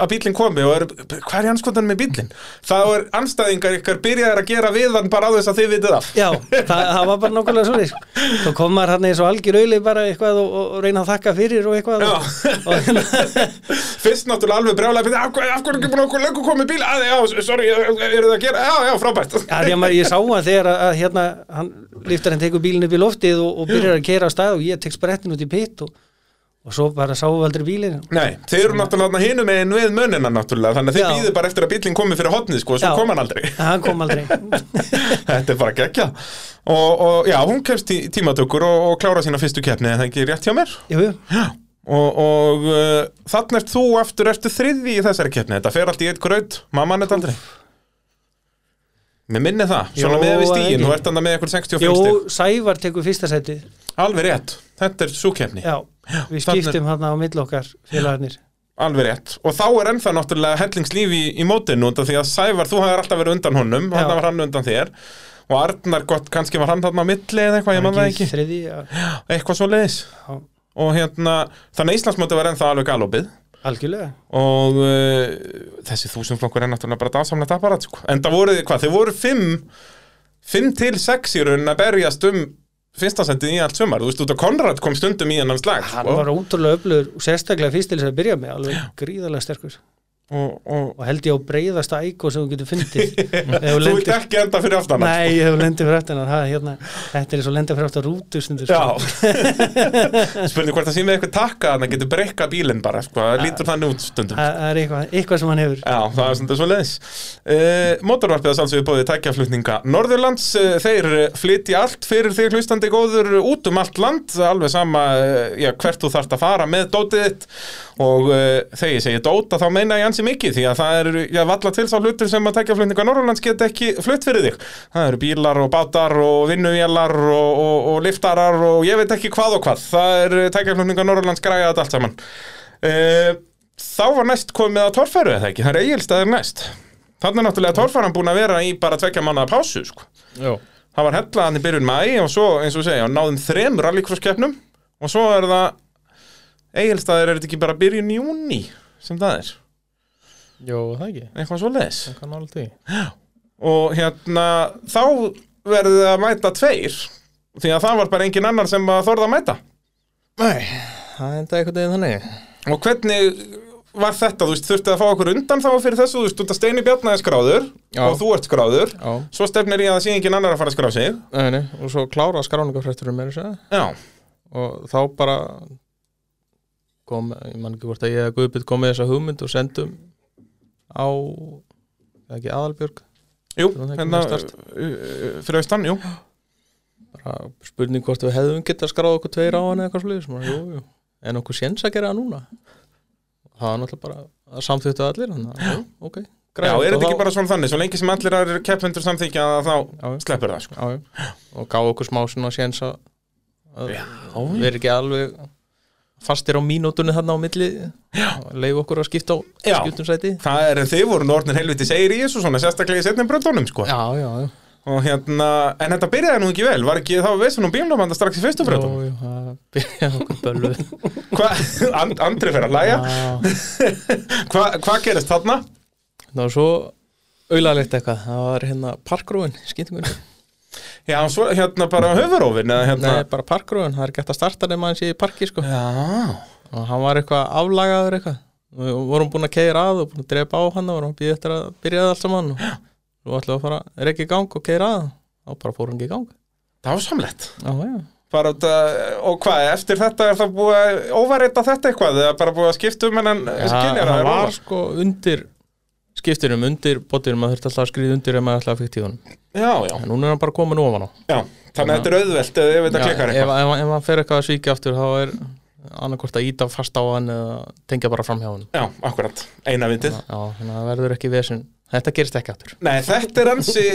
að bílinn komi og eru, hvað er anskotan með bílinn? Þá er anstæðingar ykkar byrjaðar að gera við hann bara á þess að þið vitið af Já, það, það var bara nákvæmlega svolítið Þá kom maður hann eins og algjör auðli bara eitthvað og, og, og reyna að þakka fyrir og eitthvað og, Já. og, hérna, Fyrst náttúrulega alveg brjálega byrja, af, hver- af hverju er ekki búin okkur löngu komið bíl að, já, sorry, eru það að gera, já, já, frábært Já, því að maður, ég sá hann þegar að, að hérna, hann liftar hann tekur bílinn upp í loftið og, og byrjar að kera á stað og ég tek sprettin út í pitt og, og svo bara sáum við aldrei bílinn Nei, þeir eru náttúrulega hinum megin við mönnina náttúrulega, þannig að þeir Já. býðu bara eftir að bílinn komi fyrir hotnið, sko, svo Já. kom hann aldrei <laughs> Hann kom aldrei Þetta er bara gekkja og, og já, hún kemst í tímatökur og, og klára sína fyrstu keppni, er það ekki rétt hjá mér Jú, jú. og, og uh, þannig ert þú aftur eftir þriði í þessari keppni, þetta fer allt í eitt gröð mamman þetta aldrei Mér minni það, svona Jó, með við að stíin, ekki. þú ert andan með eitthvað 65 Jó, stík Sævar tekur fyrsta sætið Alveg rétt, þetta er svo keppni Já, við þarna er- skiptum hann á milli okkar félagarnir Alveg rétt, og þá er ennþá náttúrulega hellingslífi í, í mótinu út af því að Sævar, þú hafðir alltaf verið undan honum Já. hann var hann undan þér og Arnar gott, kannski var hann þarna á milli eða eitthvað, ég man það ekki, Þriði, já, eitthvað svo leiðis já, og hérna, þannig að Íslandsmóti var ennþá alveg galopið algjörlega og uh, þessi þúsundflokkur er náttúrulega bara dásamlegt apparat sko. en það voru, hvað, þið voru fimm fimm til sex í raun að berjast um fyrsta sendið í allt sumar þú veist, út að Konrad kom stundum í hennan slag hann sko. var ótrúlega öflugur og sérstaklega fyrst til þess að byrja með alveg gríðarlega sterkur og, og, og held ég á breiðasta ægó sem þú getur <laughs> fundið Ef þú þú vilt lendir- ekki enda fyrir aftan hann, sko. Nei, ég hef lendið fyrir aftan hann, það er hérna, þetta er svo lendið fyrir aftan rútu stundur sko. Já <laughs> Spurning hvort það sé með eitthvað takka þannig að getur brekka bílinn bara sko. það lítur þannig út stundum það það er eitthvað, eitthvað sem hann hefur Já, það er svona svo leiðis uh, Mótorvarpið að sálsögðu bóðið tækjaflutninga Norðurlands, uh, þeir eh, flytja allt fyrir þig hlustandi góður út um allt land alveg sama eh, uh, já, hvert þú þarft að fara með dótið þitt og uh, þegar ég eh, segi dóta þá meina ég ansi mikið því að það eru já, valla til þá hlutir sem að tekja flutninga Norrlands geta ekki flutt fyrir þig það eru bílar og bátar og vinnuvélar og, og, og liftarar og ég veit ekki hvað og hvað það eru tekja flutninga Norrlands græða þetta allt saman uh, þá var næst komið að torfæru eða ekki, það er eigilstaðir næst þannig er náttúrulega torfæran búin að vera í bara tvekja manna pásu sko. Já, það var hellaðan í byrjun mæ og svo eins og segja, náðum þrem rallycrosskeppnum og svo er það eigilstaðir er þetta ekki bara byrjun júni sem það er, já, það ekki eitthvað svo leðis Það kann alveg því og hérna þá verður það að mæta tveir því að það var bara engin annar sem að þorða að mæta Nei, það enda einhvern veginn þannig og hvernig var þetta, þú veist, þurfti að fá okkur undan þá fyrir þessu, þú veist, út að Steini Bjarna er skráður Já. og þú ert skráður Já, svo stefnir í að það sé engin annar að fara að skrá sig nei, nei, og svo klára skráningafrætturum er þess að já, og þá bara kom, ég man ekki hvort að ég að Guðbjörn kom með þessa hugmynd og sendum á eða ekki aðalbjörg jú, Það var það ekki hérna mest stærst. uh, uh, fyrir austan, jú bara spurning hvort við hefðum getað skráð okkur tveir á hann eða eitthvað sliðis jú, jú. en okkur séns að gera það núna það var náttúrulega bara að samþýttu allir hann, að, jú, ok, Já, grænt, er og þetta ekki þá- bara svona þannig, svo lengi sem allir aðrir keppendur samþykja að þá já, já, sleppur það, sko. já, já. og gá okkur smá svona séns að, að við erum ekki alveg fastir á mínútunni þarna á milli leif okkur að skipta á Já. skiptum sæti Það er, þeir voru nornir helviti segir í þessu svona, sérstaklega í setnum bröndunum, sko. já, já, já Og hérna, en þetta byrjaði nú ekki vel, var ekki þá veist hún um bílnumanda strax í fyrstu bröndunum? Jó, jú, það byrjaði okkur bölvuð <laughs> Hvað, <laughs> and, andri fyrir að læja, Það hvað <laughs> hva gerist þarna? var svo auðalegt eitthvað Það var hérna parkrúin, skýtingun Já, svo hérna bara höfurófin, eða hérna... Nei, bara parkrúin, það er gett að starta nema hann sé í parki sko. Já, og hann var eitthvað aflagaður eitthvað og við vorum búin að keira að og búin að drepa á hann og vorum að býða eftir að byrjaði allt saman og þú ætlaði að fara, er ekki í gang og keira að og bara fór hann ekki í gang það var samlegt. Já, já, Bara, út að- og hvað, eftir þetta er það búið að óvarita þetta eitthvað, eða bara búið að skipta um hennan Já, skynjar hann var sko undir skiptinum, undir botinum, maður þurfti alltaf að skriða undir ef maður alltaf fikk tíðunum Já, já, en núna er hann bara komin ofan á já, þannig að þetta er auðvelt ef ef þetta Já, klikkar eitthvað. ef, ef, ef maður fer eitthvað að svíkja aftur þá er annarkvort að íta fast á hann eða tengja bara fram hjá hann Já, akkurat, eina vitið Já, þannig að það verður ekki vesen Þetta gerist ekki aftur Nei, þetta er ansi,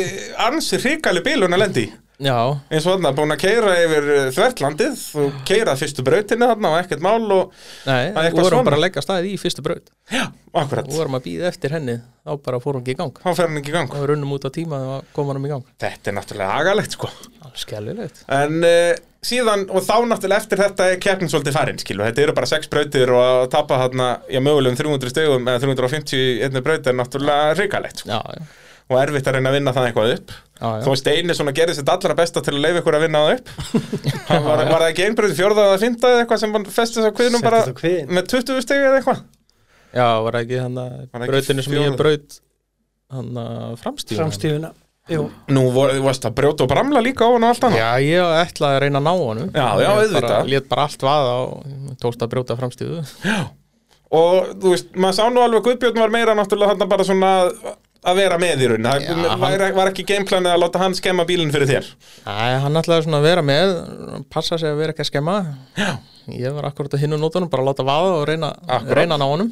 ansi hrikali bílun að lendi í. Já, eins og þarna, búin að keira yfir eh, þvertlandið og keira fyrstu brautinni þarna og ekkert mál og nei, Það er við eitthvað vorum svona. bara að leggja staðið í fyrstu braut akkurat, Við vorum að býða eftir henni þá bara fór hann ekki í gang þá fer hann ekki í gang og við runnum út á tíma þegar kom hann í gang Þetta er náttúrulega agalegt sko Alveg skelvilegt En uh, síðan, og þá náttúrulega eftir þetta er keppnin svolítið farin, skilu Þetta eru bara sex brautir og að tapa þarna, já mögulegum 300 stegum eða 350 í einni braut er náttúrulega hrikalegt sko. Já, já, og erfitt að reyna að vinna það eitthvað upp já, já. Þó Steini svona gerði sitt allra besta til að leifa ykkur að vinna <laughs> það upp Hann var, var það ekki einbröð fjórða eða fynda eða eitthvað sem hann festið þess að kviðnum bara Settist á kviðinn. með 20 stegi eða eitthvað já var það ekki hann að Var það ekki brautinu sem ég fjóla? braut hann að framstíðun framstífuna Jú, Nú vor- þú varst að brjóta og bramla líka á hann og allt annað Já, ég ætlaði að reyna að ná honum Já, já, Ég auðvitað. bara- Lét bara allt vaða og tókst að brjóta framstíðu Og þú veist, maður sá nú alveg að Guðbjörn var meira náttúrulega þarna bara svona að- að vera með í raun Já, Það hann- var, var ekki gameplanið að láta hann skemma bílinn fyrir þér Nei, hann ætlaði svona að vera með passa sig að vera ekki að skemma Já. ég var akkurat að hinna nótunum, bara að láta vaða og reyna, Akkúrat. reyna að ná honum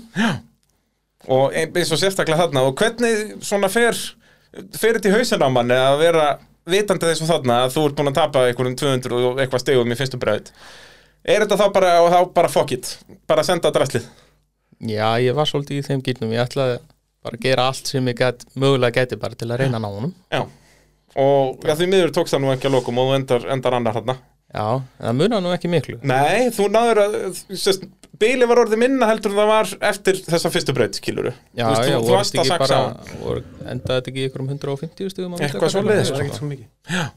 Og ein- eins og sérstaklega þarna Og hvernig svona fer, fer þetta í hausinn á manni að vera vitandi þess og þarna að þú ert búin að tapa einhverjum 200 og eitthvað stegum í fyrstu bræðið Er þetta þá bara, og þá bara fuck it Bara senda drastlið Já, ég var svolítið í þeim gýtnum ég ætlaði bara að gera allt sem ég gæt, mögulega gæti bara til að reyna að ná honum Já Og ja, því miður tókst það nú ekki að lokum og þú endar, endar annar þarna Já, en það munaði nú ekki miklu Nei, þú náður að sérst, Bíli var orðið minna heldur en það var eftir þessa fyrstu braut, skiluru Já, þú, veist, já, þú, þú voru varst þetta að ekki saksa á bara- voru- endaði þetta ekki í ykkur um 150 stugum Eitthvað svoleiðis, það var sko. ekkert svo mikið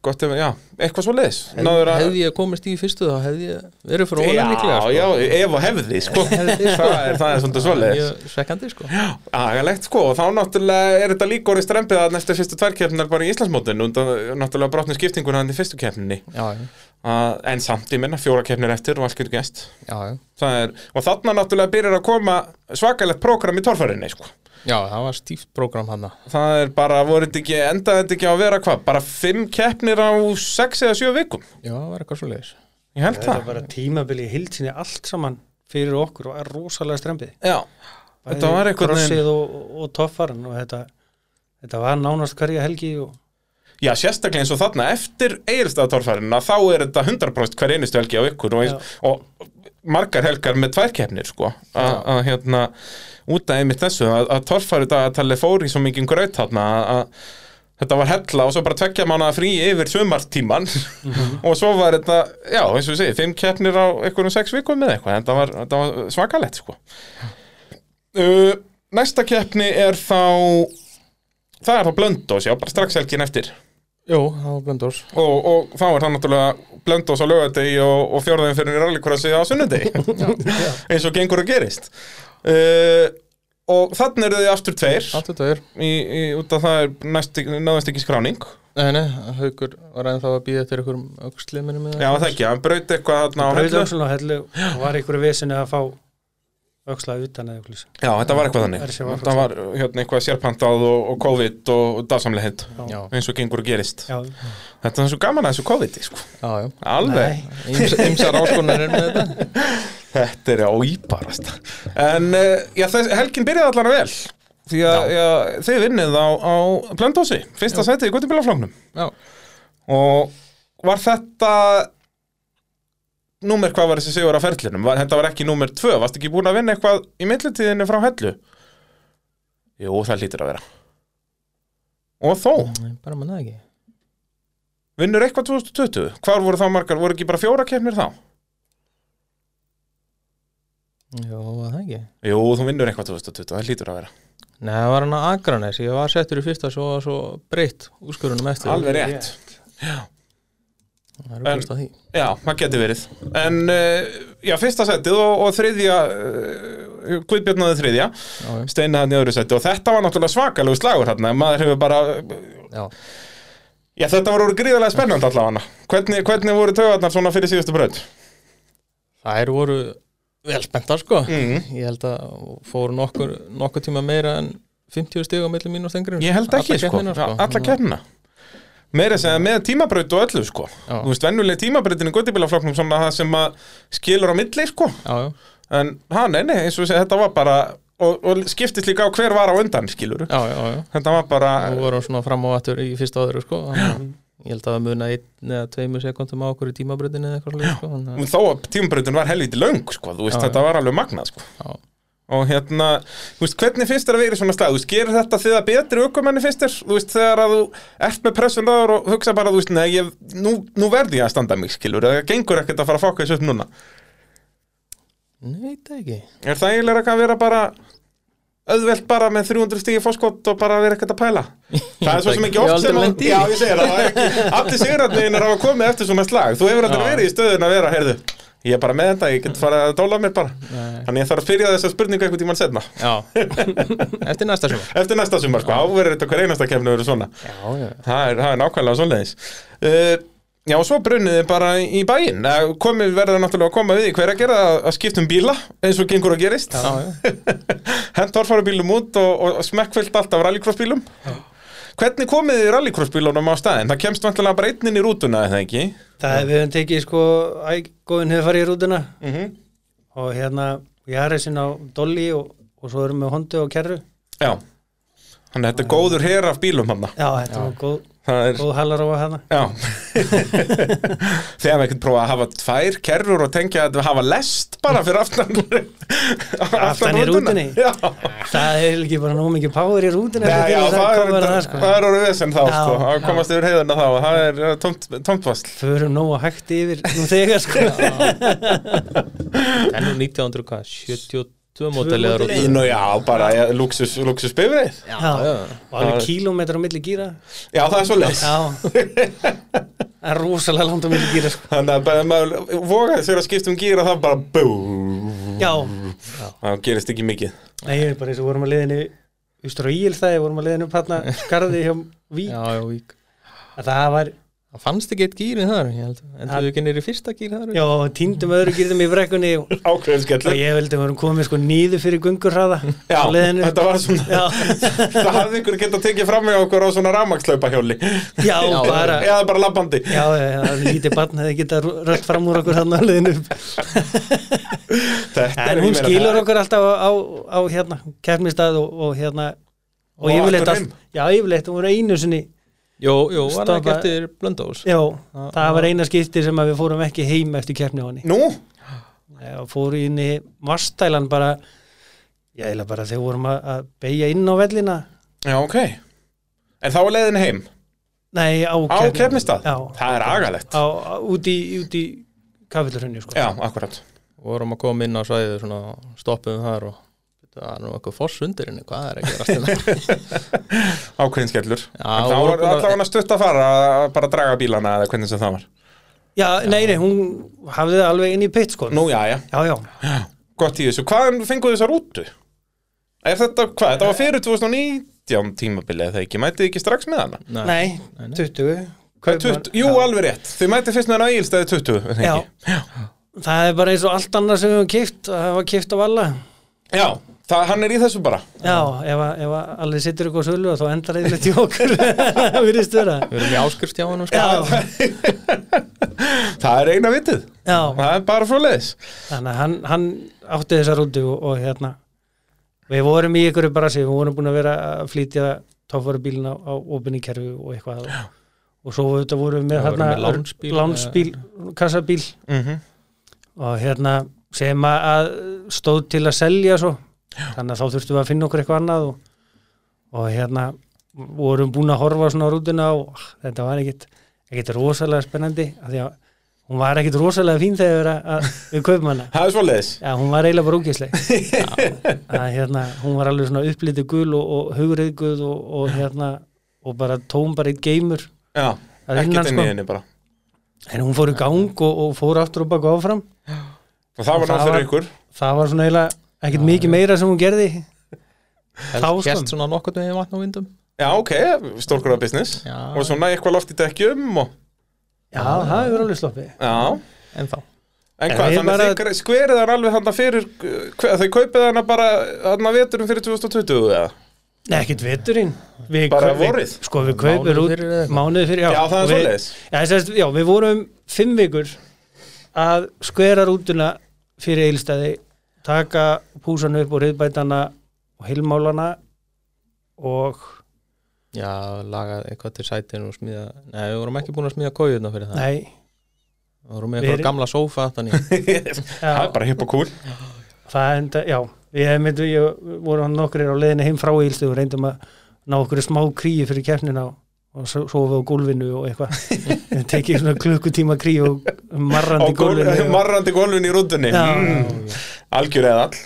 Gott ef, já, eitthvað svo leiðis Hefði ég komist í fyrstu þá hefði ég verið fyrir Já, ólega líklega sko. já, ef og hefði, sko Það er, það er svona svo leiðis Mjög svekkandi sko Agalegt, sko, og þá náttúrulega er þetta líka orðið strempið að næstu fyrstu tværkeppnar bara í Íslandsmótinu og það- náttúrulega brotnum skiptinguna hann í fyrstu keppninni Já, já, uh, En samt, ég minna, fjóra keppnir eftir og allt getur gæst já, já. Það er, og þarna náttúrulega byrjar að koma svakalegt prógram í torfærinni, sko já það var stíft prógram hann Það er bara, voru þetta ekki, endaði þetta ekki á að vera hvað, bara fimm keppnir á sex eða sjö vikum, Já, það var eitthvað svo leiðis ég held Það það. er bara tímabili í hildsinni allt saman fyrir okkur og er rosalega strempið Já, Þetta var einhvern krossið og, og toffaran og þetta, þetta var nánast hverja helgi og Já, sérstaklega eins og þarna eftir eigilstaðatorfærinna þá er þetta 100% hver einustu helgi á ykkur og, eins, og margar helgar með tvær keppnir sko að að, hérna út af einmitt þessu að, að torfæru dagatali fór í svo mikið graut þarna að- að þetta var hella og svo bara tvekja mánaða frí yfir sömartíman <laughs> og svo var þetta, já eins og ég segi, fimm keppnir á einhverjum sex vikum með eitthvað þetta var, þetta var svakalett sko uh, Næsta keppni er þá það er þá Blöndós, já, bara strax helgin eftir Jó, það var blöndors og, og þá er það náttúrulega blöndos á laugardegi og, og fjórðin fyrir rallycrossi á sunnudegi eins og gengur að gerist uh, og þannig eru þið aftur tveir Allt þetta er í, í, út af það er næst, náðast ekki skráning Nei, nei, haukur var ennþá að býða eftir einhverjum auksli minni með já það ekki, hann braut eitthvað þarna á hellu brauðöksul og hellu og var einhverju vesinni að fá öksla utan eða eitthvað já þetta var eitthvað þannig Það er sér var þetta var hérna eitthvað sérpantað og, og COVID og, og dásamlegheit Já, eins og gengur að gerist Já, þetta er svo gaman að þessu COVID sko. já, já alveg nei, Ýmsar- Ýmsar áskonar er með þetta Þetta er óýbarast En uh, já, þess, helgin byrjaði allan vel Því að já, þið vinnið á, á Blöndósi, fyrsta sæti í Götubílaflóknum Já, Og var þetta Númer hvað var þessi sigur á ferlinum? Var, þetta var ekki númer tvö, varst ekki búin að vinna eitthvað í millitíðinni frá hellu? Jú, það hlýtur að vera Og þó, Nei, bara manna það ekki vinnur eitthvað 2020 Hvar voru þá margar, voru ekki bara fjóra keppnir þá? Já, var það ekki Jú, þú vinnur eitthvað 2020, það hlýtur að vera Nei, það var hann að Akranes, ég var settur í fyrsta svo, svo breytt úrskurunum eftir Alveg rétt, rétt. Það eru búst að því Já, það getur verið En uh, já, fyrsta setið og, og þriðja uh, Guðbjörnaði þriðja Já, já. Steina hann í öðru seti og þetta var náttúrulega svakalegu slagur hérna, maður hefur bara Já, Já, þetta voru gríðarlega spennandi allavega hvernig, hvernig voru taugarnar svona fyrir síðustu braut? þær voru vel spenntar sko Mm. Ég held að fóru nokkur, nokkur tíma meira en 50 stig á milli mín og stengurinn Ég held ekki, sko, alla keppnina Meira að segja með tímabraut og öllu, sko Já. Þú veist, venjuleg tímabrautin í Guðbjörnaflokknum svona það sem að skilur á milli, sko Já, já, En hann, nei, nei, eins og segja, þetta var bara og, og skiptist líka á hver var á undan, skilur já, já, já. Þetta var bara Nú vorum svona fram á aftur í fyrsta og öðru sko Þannig að Ég held að það muna einn eða tveimur sekundum á okkur í tímabröðinu eða eitthvað svolítið sko Þannig að- Og þó að tímabrautin var helviti löng sko, þú veist, Já, þetta var alveg magnað sko. Já, og hérna, þú veist, hvernig finnst þér að vera í svona slag, þú veist, gerir þetta þið að betri aukumenni finnst þér, þú veist, þegar að þú ert með pressun ráður og hugsa bara, þú veist, nei, ég, nú, nú verði ég að standa mig, skilur það gengur ekkert að fara að fokka þessu upp núna Nei, það ekki er það eiginlega ekki að vera bara auðvelt bara með 300 stíði fórskott og bara vera ekkert að <laughs> pæla það er svo sem ekki Ég oft aldrei sem að- lent í. já, ég segir það, það er ekki allir sigurarnir hafa komið eftir svona slag þú hefur aldrei Já. verið í stöðun að vera, heyrðu ég er bara með þetta, ég get fara að dóla mér bara Nei. Þannig ég þarf að byrja þessa spurningu einhvern tímann setna Já, <laughs> eftir næsta sumar Eftir næsta sumar, sko, áverður þetta hver einasta kefni verið svona Já, já, Það er, það er nákvæmlega svoleiðis uh, Já, og svo brunniði bara í bæinn Eh, Komið verður náttúrulega að koma við í hver að gera að- að skipta um bíla eins og gengur að gerist já, já. <laughs> Hent orfarubílum út og, og smekkfyllt allt af rallycrossbílum Hvernig komið þið rallycrossbílunum á staðinn? Það kemst vantilega bara einn inn í rútuna, eða ekki? það hefur við höfum tekið sko ægóðin hefur farið í rútuna Mm -hmm. og hérna ég er þessin á Dolly og, og svo erum við Honda og Kerru Já Þannig að þetta er góður her af bílum hann Já, þetta var góð, Það er góð hérna. halaróa hana Já Þegar við ekkert prófa að hafa tvær kerrur og tengja að hafa lest bara fyrir aftan <laughs> Aftan í rútuna. rútunni. Já, Það er ekki bara nóg mikið power í rútuna Nei, já það, það er, komið að það það sko er orðið vesen þá Já, sko, að já. komast yfir heiðuna þá það er uh, tómt, tómt vasl Förum nóg að hægt yfir nú þegar sko En nú 1972 mótalið módel. rútur Nú já, bara ja, luxus, luxus bifrið Já, já. og alveg kílómetra á milli <laughs> gýra Já, það er svo les Já Það er rosalega langt á milli gýra sko Þannig að bara, maður vogaði sér að skipta um gýra það bara bú Já, Það gerist ekki mikið nei, ég er bara eins og vorum að leiðinu Ústur og Íl það, vorum að leiðinu upp hérna Garði hjá Vík Já, já, vík að Það var, Það fannst ekki eitt gýrin þar, ég held En þú ekki nýri fyrsta gýr þar já, týndum öðru gýrðum í brekkunni og Ákveðin og skellur ég veldi að við vorum komið sko nýður fyrir gungurhraða Já, á leiðinu þetta var svona Já, <laughs> Það hafði ykkur getað tekið fram með okkur á svona ramakslaupahjóli já, Já, bara Já, Eða bara labbandi já, já, það er lítið barn hefði getað rölt fram úr okkur þarna á leiðinu upp Þetta en er hún ég meina, skilur það- okkur alltaf á, á, á hérna, kefnistað og, og hérna og, Og yfirleitt aftur allt, já yfirleitt, hún var einu sinni Jó, jó, var það ekki Stoppa- eftir blöndás já, Já, það já. var eina skipti sem að við fórum ekki heim eftir kefni á henni Nú, og fóru inn í vastælan bara ég eða bara þegar vorum að, að beigja inn á vellina já ok En þá er leiðin heim nei, á, á Keppni- kefnistað já, Það er agalegt á, á, út í, út í kafillurhönni sko. Já, akkurat og vorum að koma inn á svæðið svona stoppuðum þar og það er nú eitthvað foss undir henni, hvað er hérna? ekki rastina <laughs> Ákveðin skellur Já, En þá og var bara- allavega stutt að fara að bara draga bílana eða hvernig sem það var já, nei, nei, hún hafði það alveg inn í pitt sko. Nú, já, já, já, já, gott í þessu Hvaðan fenguð þessar útu? Er þetta, hvað, þetta var fyrir 2019 tímabilið eða ekki, mætið þið ekki strax með hana? nei, Nei, nei. 20 Hvað, 20, jú, alveg rétt, þið mætið fyrst með hana ægilstæði 20, er það Já. ekki? það er bara eins og allt annað sem við höfum kipt það var kipt af alla Já, það, hann er í þessu bara já, ef, að- ef að allir sittur ykkur á sölu þá endar eitthvað til okkur <laughs> við erum störa við erum í áskrift hjá hann sko. já, Það er eina vitið, já það er bara frá leiðis þannig að hann, hann átti þessa rútu og, og hérna við vorum í ykkur brasi, við vorum búin að vera að flytja tófvaru bílinn á, á opinni kerfi og eitthvað og, og svo þetta vorum við Já, með vorum hérna með lánsbíl, lánsbíl kassabíl mm og hérna sem að- að stóð til að selja svo þannig að þá þurftum við að finna okkur eitthvað annað og, og hérna vorum búin að horfa svona á rútuna og ah, þetta var ekkit, ekkit rosalega spennandi af því að hún var ekkit rosalega fín þegar að, að við kaupum hana Það er svo leiðis Já, hún var eiginlega bara <laughs> ógeðsleg að, hérna, Hún var alveg svona upplitið gul og, og hugriðguð og, og hérna og bara tóm bara eitt geimur Já, Það er innan, ekkert inn í sko. henni bara en hún fór í gang og, og fór aftur og baka áfram Og það var Það nátt fyrir var- ykkur það var svona eiginlega ekkert mikið meira sem hún gerði Þá, sko. hérst svona nokkurt með vatn og vindum Já, ok, stórkur af business Já. Og svona eitthvað loft í dekkjum og... Já, það hefur alveg sloppið Já, en þá en En hvað, við þannig bara... bara- þið skverið hann alveg hann fyrir hver, Þau kaupið hann bara hann veturum fyrir 2020 eða? Nei, ekkert veturinn við, Bara við- vorið? Sko, við kaupum Mánuði rút fyrir eða eitthvað? Mánuði fyrir, já Já, það er og við- svoleiðis. já, sérst, já, við vorum fimm vikur að skvera rútuna fyrir eilstæði taka púsan upp og reyðbætana og heilmálana og Já, lagað eitthvað til sætin og smíða Nei, við vorum ekki búin að smíða kóiðna fyrir það nei Við vorum með Við eitthvað erum- gamla sófa þannig Það <laughs> já, er bara hipp og cool það enda, já ég myndi, ég voru hann nokkur á leiðinni heim frá eilstöðu og reyndum að ná okkur smá kríu fyrir keppnina og, og so- sofa á gólfinu og <laughs> eitthvað Ég tekið svona klukkutíma kríu og marrandi Og gólf, gólfinu og- marrandi gólfin í rúndunni Já, mm, Algjör eða all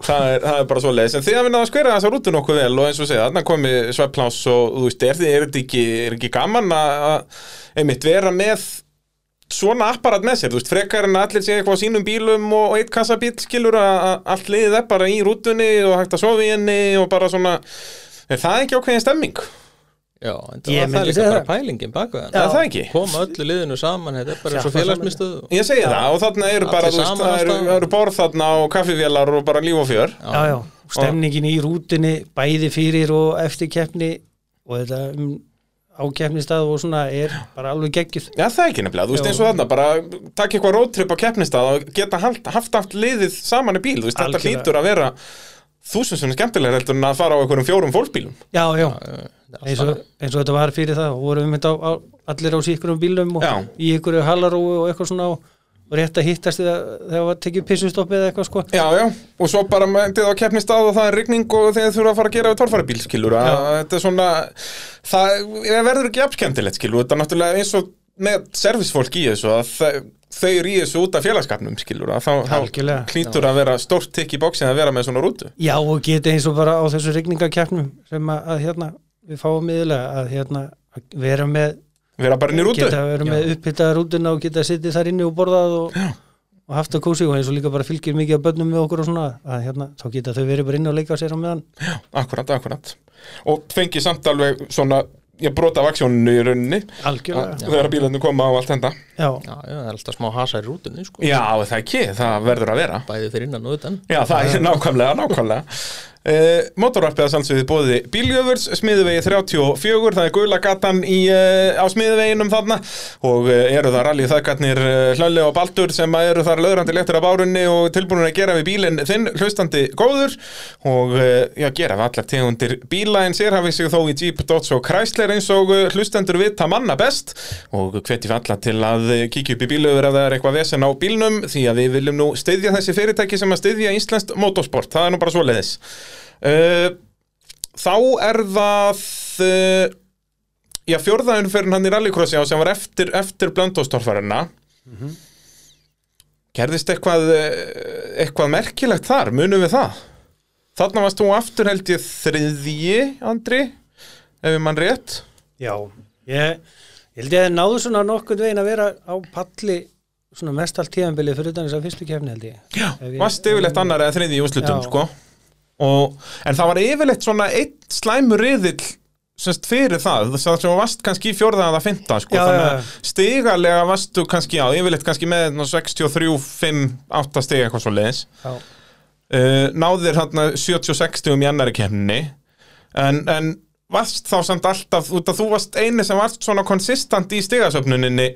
það er, það er bara svo leiðis En þið hafið náð að skvera þessa rútu nokkuð vel Og eins og segja, þannig komi sveppláns og þú veist, er, þið- er, þetta ekki, er ekki gaman að að, einmitt vera með svona apparat með sér, þú veist, frekar en að allir sé eitthvað á sínum bílum og, og eitt kassabíl skilur að að allt liðið er bara í rútunni og hægt að sofa í henni og bara svona er það ekki ákveðin stemming? Já, en Ég það myndi var líka segja bara það. pælingin baka Já. það Er það ekki? Koma öllu liðinu saman, þetta er bara eins og Þjappa félagsmyndstöð Ég segi það og þarna eru Allir bara, þú veist, saman á það eru, staðnum. það eru borð þarna og kaffivélar og bara líf og fjör já, já, stemningin í rútinni bæði fyrir og eftir keppni og þetta um ákeppnistað og svona er bara alveg geggjur Já, það er ekki nefnilega, þú veist Já. eins og þarna, bara takk eitthvað roadtrip á keppnistað og geta haft, haft allt liðið saman í bíl, þú veist, þetta Algjörlega. hlýtur að vera þúsund sem skemmtilega heldur en að fara á einhverjum fjórum fólksbílum. já, já, Þetta er eins og, alltaf- eins og þetta var fyrir það og vorum við mynda á, á, allir á síkurum bílum og Já. í ykkur halaróu og eitthvað svona og, og rétt að hittast þegar þegar var tekið pissustoppið eða eitthvað sko Já, já, og svo bara mætið á keppnistað og það er rigning og þeir þurfa að fara að gera við torfæra bílskilur, að þetta er svona, það það verður ekki jafnskemmtilegt skilur, þetta er náttúrulega eins og með servisfólk í þessu, að þe- þau eru í þessu út af félagskapnum skilur, að þá- Algjörlega. þá hlýtur að vera stórt tikk í bóksin að vera með svona rútu. Já og geta eins og bara á þessu regningakeppnum sem að, að hérna við fáum miðlega að hérna að vera með, Vera bara inn í rútu. geta vera með upphitaða rútuna og geta sittið þar inni og borðað og, og haft að kósi og eins og líka bara fylgir mikið að börnum með okkur og svona að hérna þá geta þau verið bara inni og leika sér á meðan Akkurat, akkurat Og fengið samt alveg svona Ég brota af aksjóninu í rauninni algjörlega, Þegar bílarnir koma á allt þetta já, Já, já, það er alltaf smá hasa í rútunni sko. Já, það ekki, það verður að vera Bæði fyrir innan og utan Já, það er nákvæmlega, nákvæmlega Uh, Motorvarpið að sannsögðu bóði Bíljöfurs, smiðuvegi 34 það er gula gatan í, uh, á smiðuveginum þarna og uh, eru það rallið þakkarnir uh, Hlölli og Baldur sem að eru þar löðrandi léttur af árunni og tilbúin að gera við bílinn þinn hlustandi góður og uh, já, gera við allar tegundir bíla en sér hafið sig þó í Jeep, Dodge og Chrysler eins og uh, hlustendur vita manna best og hvetjum við alla til að uh, kíkja upp í bíljöfur ef það er eitthvað vesen á bílnum því að við viljum nú styðja þessi fyrirtæki sem að styðja íslenskt motorsport, það er nú bara svoleiðis Uh, þá er það uh, já, fjórðaunferðin hann í rallycrossi á sem var eftir, eftir blöndóstorfarina gerðist eitthvað uh, eitthvað merkilegt þar, munum við það þarna varst þú aftur held ég þriðji, Andri ef ég mann rétt Já, ég, ég held ég að náðu svona nokkurn veginn að vera á palli svona mest allt tíðanbilið fyrir utan þess að fyrstu kefni held ég. já, Ef ég- varst yfirleitt annar eða þriðji í úrslutum Já. sko. og, en það var yfirleitt svona einn slæmur riðill semst fyrir það, það sem þú varst kannski í fjórða eða fymta, sko, Já, þannig já, að stigalega varst þú kannski, já, yfirleitt kannski með ná, 63, 5, 8 stiga eitthvað svo leiðis, Já, uh, náðir hann 76 stigum í annari kemni en, en varst þá samt alltaf, út að þú varst eini sem varst svona konsistant í stigasöfnuninni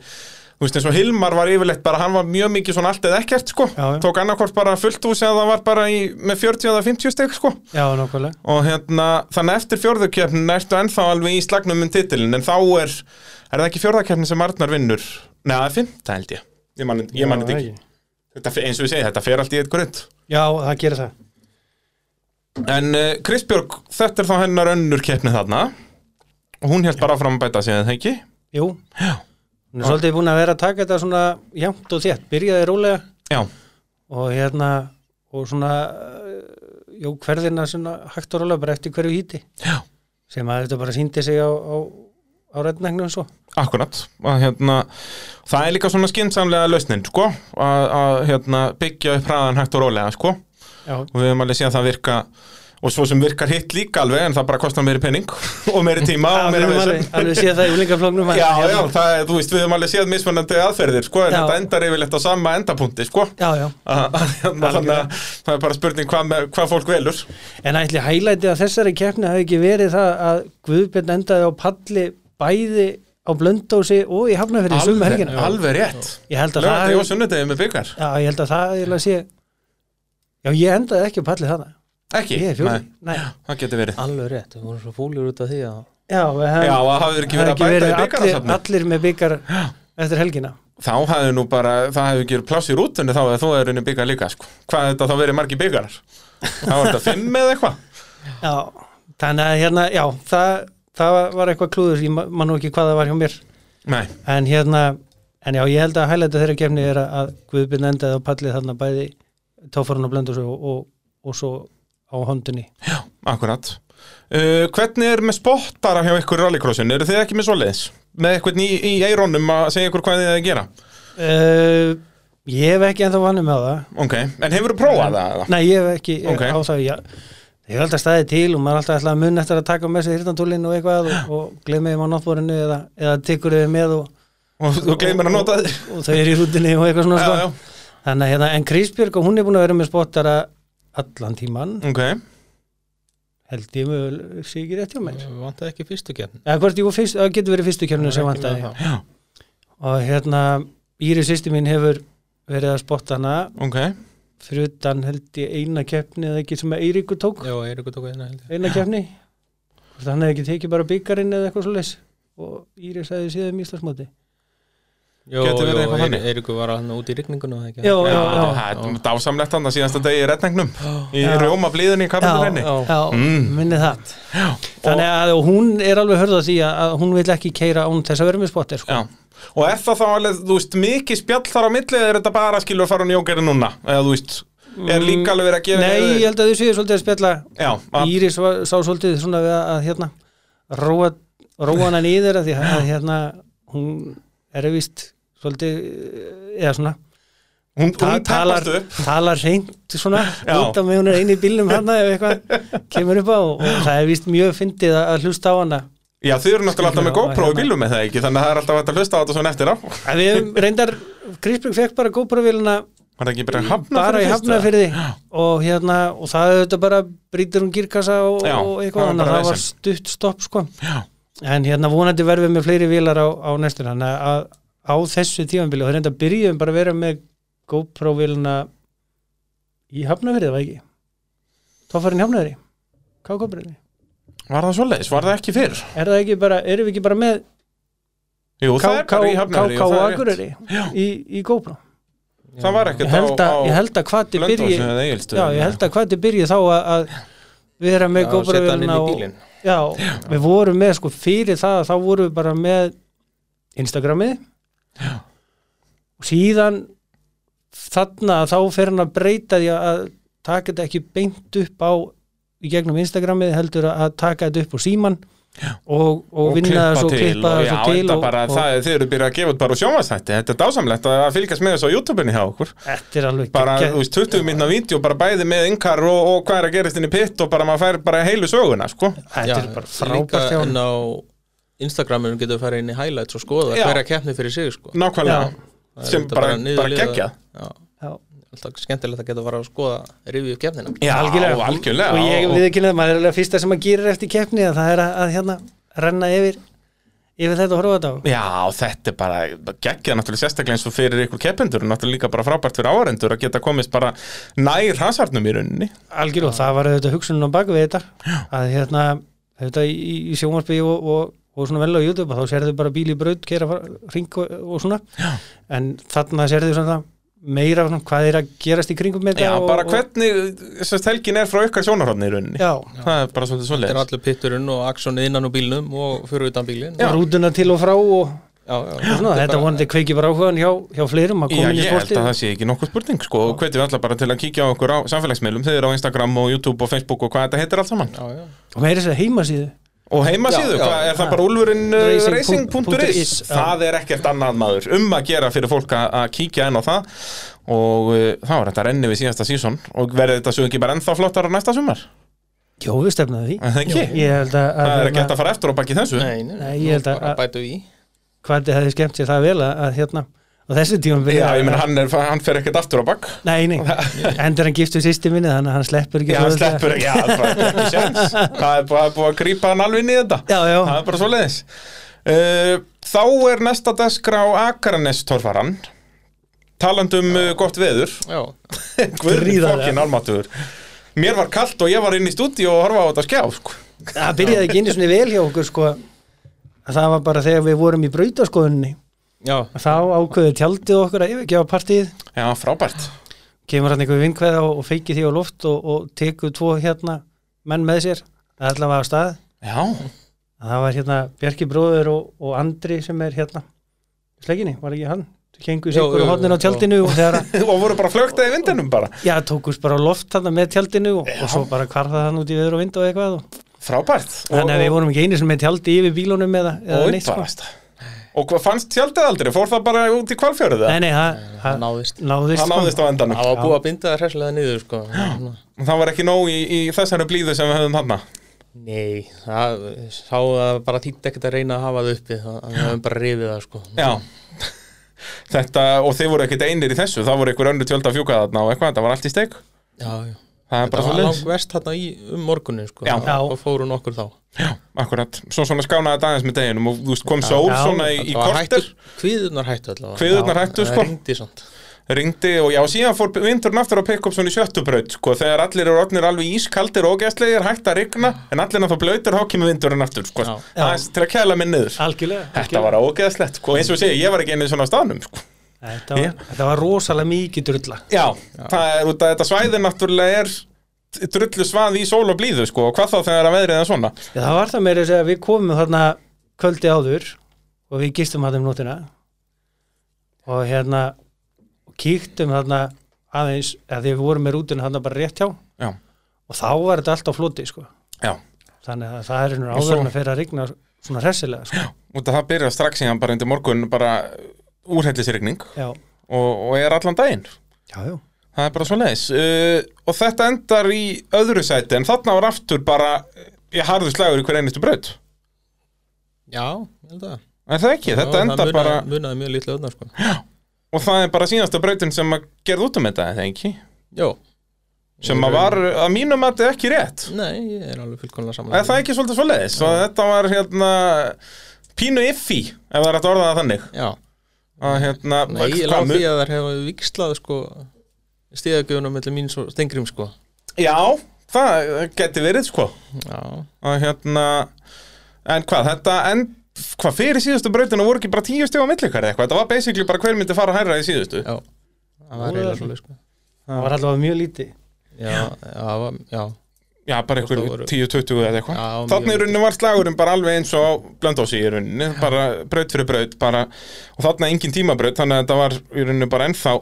þú veist eins og Hilmar var yfirleitt bara hann var mjög mikið svona allt eða ekkert sko Já, já. tók annarkvort bara fullt hús eða það var bara í, með 40 eða 50 stig sko já nokkulega. og hérna, þannig að eftir fjórðakefnin ertu ennþá alveg í slagnum um titilin en þá er, er það ekki fjórðakefnin sem Arnar vinnur? Nei, það er fymta held ég ég mann ég man þetta ekki þetta, fer- eins og ég segi, þetta fer allt í eitt grönt Já, það gerir það. en uh, Kristbjörg, þetta er þá hennar önnur keppni þarna og hún held bara áfram að bæta sig, er það ekki? Jú. Já. Hún er svolítið búin að vera að taka þetta svona jæmt og þétt. Byrjaði rólega Já, og hérna og svona eh, jú, hverðina svona hægt og rólega bara eftir hverju híti já, sem að þetta bara síndi sig á, á, á rednægnum svo. akkurat að, hérna, það er líka svona skynnsamlega lausnin, sko að, að hérna, byggja upp hraðan hægt og rólega, sko Já, og við höfum alveg séð að það virka og svo sem virkar hitt líka alveg en það bara kostar meiri pening <laughs> og meiri tíma og við meiri höfum vesen. alveg, alveg séð það í úlingaflóknum. Já, já, það er, þú veist, við höfum alveg séð mismunandi aðferðir, sko, en Já. þetta endar yfirleitt á sama endapunkti, sko Já, já. A- a- þannig að það er bara spurning hvað, með, hvað fólk velur En ætli hælætið að þessari keppni hafi ekki verið það að Guðbjörn endaði á palli bæði á blöndósi og í hafnafyrir sum alveg, helgina. alveg rétt Ég held að það, Lögandi og sunnudegi með byggar, já, ég held að það, ég held að sé, já, ég endaði ekki á palli þarna. ekki Ég er fjóri. Nei, Nei, það getur verið Alveg rétt, við vorum svo fúlir út af því að já, við hefum- Já, það hafði ekki það verið hefði að bæta í allir, byggarasafni allir með byggar eftir helgina. Þá hafði nú bara, það hefði ekki verið pláss í rútunni þá eða þú hefur unni byggar líka, sko Hvað þetta þá verið margi byggarar? Það var þetta fimm eða eitthvað Já, þannig að hérna, já, það, það var eitthvað klúður, ég ma- man nú ekki hvað það var hjá mér. Nei, En hérna, en já, ég held að hælæta þeirra kemni er að- að Guðbjörn endaði á pallið þarna bæði tófarun og blöndur og, og, og svo á hondunni. akkurat uh, Hvernig er með spottara hjá ykkur í rallycrossin? Eru þið ekki með svoleiðis? Með eitthvað í, í eirónum að segja ykkur hvað þið eigi að gera? Uh, ég hef ekki ennþá vanið með það. Ok, en hefur þú prófað það? eða? Nei, ég hef ekki ég, Ókei. á það, já. Ég hef alltaf staðið til og maður er alltaf ætlað að mun eftir að taka með sér hirtantúlinn og eitthvað og, og glemir þeim á náttbórinu eða, eða tekur þau með og, Og þú gleymir að nota þið? og, og þau eru í rútinni og eitthvað svona. Já, sko. já, Þannig að hérna, en Krisbjörg og hún er búin að vera með spottara allan tíman, ok held ég möguleg, sé ekki rétt hjá mér. við vantaði ekki fyrstu kérn eða hvort jú, fyrst, það getur verið fyrstu kjörnum sem vantaði Það og hérna, Íri sýsti mín hefur verið að spotta hana Ok, fyrir utan held ég eina keppni eða ekki sem að Eiríkur tók Já, Eiríkur tók eina held ég eina keppni hvort hann hefði ekki tekið bara byggarinn eða eitthvað svo leys og Íri sagði síðan um Íslandsmóti Jó, Getur verið jó, eitthvað Eirí- þannig? Eiríkur var hann úti í rigningunum eða ekki? Já, já, já, já, já. það er dásamlegt hann að síðasta degi í retningnum Í Já. rjóma blíðunni í kapitalrenni Já. já, Mm. minni það og, þannig að og hún er alveg hörð að því að að hún vil ekki keira án þess að vera með spottir sko. já. og er það þá alveg, þú veist, mikið spjall þar á milli eða er þetta bara skilur fara hún í ógæri núna eða þú veist, er líka alveg verið að gefa Mm, Ah. Nei, ég held að þau séu svolítið að spjalla Já, að- Íris var, sá svolítið svona við að, að hérna róa, róa hana nýður að því að hérna hún er vist svolítið eða svona hún, ta- hún tapast upp talar reynd svona Já. út af með hún er einu í bílnum hérna ef eitthvað kemur upp á og það er vist mjög fyndið að- að hlusta á hana Já, þið eru náttúrulega alltaf með Skilur, GoPro í hérna. bílum með það ekki, þannig að það er alltaf hægt að hlusta á þetta svona eftir á. að við höfum reyndar Grísbjörg fekk bara GoPro-vélina Var það ekki bara hafna bara í hafnafyrði og, hérna, og það auðvitað bara brýtur um gírkassa og, Já, og það var eitthvað annað, bara það var vesen. stutt stopp sko. Já, en hérna vonandi verðum við með fleiri vilar á, á næstunni, þannig að á þessu tímanbili og það reynda að byrjum bara að vera með GoPro viluna í hafnafyrði, var ekki tófarinn í hafnafyrði kákabriðni, var það svoleiðis, var það ekki fyrr? er það ekki bara erum við ekki bara með Jú, það er bara í hafnafyrði og KK og það er rétt. Akureyri í, í GoPro Það var ég ekkert á, held að, ég á held að hvað þið Blöndósinu byrji eða já, Egilstöðum ég held að hvað þið byrji þá að, að vera með setja hann inn GoPro-vélina í og, bílinn já, við vorum með sko fyrir það þá vorum við bara með Instagramið og síðan þarna þá fer hann að breyta því að taka þetta ekki beint upp á í gegnum Instagramið heldur að taka þetta upp á síman og, og vinna það svo klippa og það já, svo til þetta bara, það, þeir eru byrjað að gefa út bara úr sjónvarsnætti, þetta er dásamlegt að fylgjast með þessu á YouTube-unni hjá okkur þetta er alveg bara, geggjað. þú veist, 20 minna vídeo, bara bæði með yngar og, og hvað er að gerast inn í pitt og bara maður fær bara heilu söguna, sko þetta er bara líka frábært hjá hann inn á Instagraminu getur við farið inn í highlights og skoða Já. hverja keppni fyrir sig sko nákvæmlega, Það er sem auðvitað bara, bara, niður liða- geggjað Já, Já. alltaf skemmtilegt að geta að fara að skoða review keppnina Já, Algjörlega. algjörlega og ég við ekki nefnum, maður er alveg fyrsta sem maður gerir eftir keppni að það er að, að hérna renna yfir yfir þetta og horfa þetta á Já, þetta er bara geggjað náttúrulega sérstaklega eins og fyrir ykkur keppendur og náttúrulega líka bara frábært fyrir áhærendur að geta komist bara nær hasarnum í rauninni algjör og það var auðvitað hugsunum á baku við þetta Já. að hérna, þetta í, í sjónvarpi og, og, og svona vel á YouTube að þá sérðu bara bíl í braut, kera ring og, og svona, Já. en þarna sérðu svona meira svona, hvað er að gerast í kringum Já, með þetta og, bara og- hvernig þessast helgin er frá ykkar sjónarhóðni í rauninni Já, Það er bara svolítið Þetta er svolítið allur pitturinn og aksjónið innan úr bílnum og fyrir utan bílinn Já. og rútuna til og frá og, já, já, og svona, þetta vonandi kveiki bara áhugaðan hjá, hjá fleirum að Já, koma inn ég í held sportið að það sé ekki nokkur spurning sko, og hvetjum við alla bara til að kíkja á okkur á samfélagsmiðlum þeir eru á Instagram og YouTube og Facebook og hvað þetta heitir allt saman já, já. og meira þess að heimasíðu og heimasíðu, Já, já. hvað er það bara úlfurinn uh, Racing punktur racing.is is, já. það er ekkert annað maður um að gera fyrir fólk að að kíkja inn á það og uh, þá er þetta renni við síðasta sísón og verður þetta svo ekki bara ennþá flottar á næsta sumar, <laughs> Jó, við stefnaði því en það ekki Ég held að, að, það er hérna, ekki hægt að fara eftir og baki þessu Nei, nei, Nei, nú ég held að- bara bætu í hvað þið hefði skemmt sér það vel að, að hérna, á þessu tímum Já, ég meina hann, er, hann fer ekkert aftur á bakk Nei, <laughs> nei, endur hann giftu sýsti minni þannig að hann sleppur ekki Já, hann auðveldlega. sleppur ekki, já, það er bara ekki séns Það er bara búið að grípa hann alveg inn í þetta Já, já, Það er bara svo leiðis Þá er næsta dagskrá Akarnestorfaran Talandi um uh, gott veður Já, <laughs> Gríðarlega. Fokkin almatugur Mér var kalt og ég var inn í stúdíu og horfa á þetta skjá sko. það byrjaði ekki einu svona vel hjá okkur sko að það var bara þegar við vorum í brautaskoðunni já, að þá ákveði tjaldið okkur að yfirgefa partíð Já, frábært kemur hann einhver vinkveða og, og feiki því á loft og, og teku tvo hérna menn með sér að allavega var á stað Já, að það var hérna Bjarki bróður og, og Andri sem er hérna í sleginni, var ekki hann? Þau kengu Jú, sig ykkur jú, á hodnin á jú, tjaldinu og þegar að <laughs> og voru bara flögtað í vindinum bara Já, tókust bara á loft þarna með tjaldinu og, og svo bara kvarða þann út í viður og vind og eitthvað og, Frábært Þannig að við vorum ekki einu sem með tjaldi yfir bílunum eða, eða og neitt sko. upparast Og hvað fannst tjaldið aldrei? Fór það bara út í kvalfjörðu það? Nei, nei, það- það það náðist náðist Það sko. náðist á endanum Það var búið að binda það hressilega niður sko. Það var ekki nóg í, í þessari blíðu sem við höfum hann Nei, það sá að bara þýtti ekkert að reyna að hafa það uppi það það höfum bara rifið það sko. Já Þetta, og þið voru ekkert einir í þessu það voru einhver önnu tjölda að fjúka þarna og eitthvað þetta var allt í steik já, já. Það er bara Það svo var leiðis langt vest þarna í um morgunin sko. Já. Já. og fóru nokkur þá Akkurat, svo svona skánaði þetta aðeins með deginum og þú veist kom sól Já. svona í, í Það var korter hættu- Kviðurnar hættu allavega Kviðurnar hættu, Það sko. rigndi samt. ringdi og já, síðan fór vindurinn aftur að pikka upp svona í sjöttubraut sko, þegar allir eru orðnir alveg ískaldir og ógeðslegir hægt að rigna, en allir náttúrulega blöytur þá kemur vindurinn aftur, sko, Já. aðeins til að kæla minn niður Algjörlega, Þetta algjörlega. var ógeðslegt, sko, eins og ég segi, ég var ekki einnig svona á staðnum, sko Þetta, var, þetta var rosalega mikið drulla Já, það er út að þetta svæði náttúrulega er drullu svað í sól og blíðu sko, og hvað þá þegar að veðrið er svona Já, Það var það meira að segja að við komum þarna kvöldi áður og við gistum hann um nótina og hérna og kíktum þarna aðeins að því við vorum með rútuna þarna bara rétt hjá og Já, þá var þetta allt á floti sko. já, þannig að það er nú Og svo- áður en að fyrir að rigna svona hressilega sko. út að það byrja strax síðan bara undir morgun bara úrhellisregning já. og, og er allan daginn Já, já. Það er bara svo leiðis uh, og þetta endar í öðru sæti en þarna var aftur bara ég harður slagur í hver einustu braut Já, ég held að Er það ekki? Já, Þetta endar munaði- bara munaði mjög lítið öðna sko. Og það er bara síðasta brautin sem að gerði út um þetta, eða ekki? já, Sem að var að mínum að þetta ekki rétt. nei, ég er alveg fullkomlega saman Er það ekki svolítið svo leiðis? Svo þetta var hérna pínu iffi, ef það er hægt að orða það þannig. já, Að hérna, nei, ég hvað lág mun- því að þær hefur vikslað sko stíðagjöfunum millir mín svo stengrim sko Já, það geti verið sko já, að hérna en hvað, þetta en hvað fyrir síðustu brautinu voru ekki bara tíu stig á milli ykkar eða eitthvað, þetta var basically bara hver myndi fara hærra í síðustu já það var reyla svo sko það var allavega mjög lítið já, já, það var- já, já, bara Það einhver voru- 10-20 eða eitthvað Já, mjög þannig í rauninni var slagurinn bara alveg eins og á blöndósi í rauninni, bara braut fyrir braut bara, og þarna engin tímabraut þannig að þetta var í rauninni bara ennþá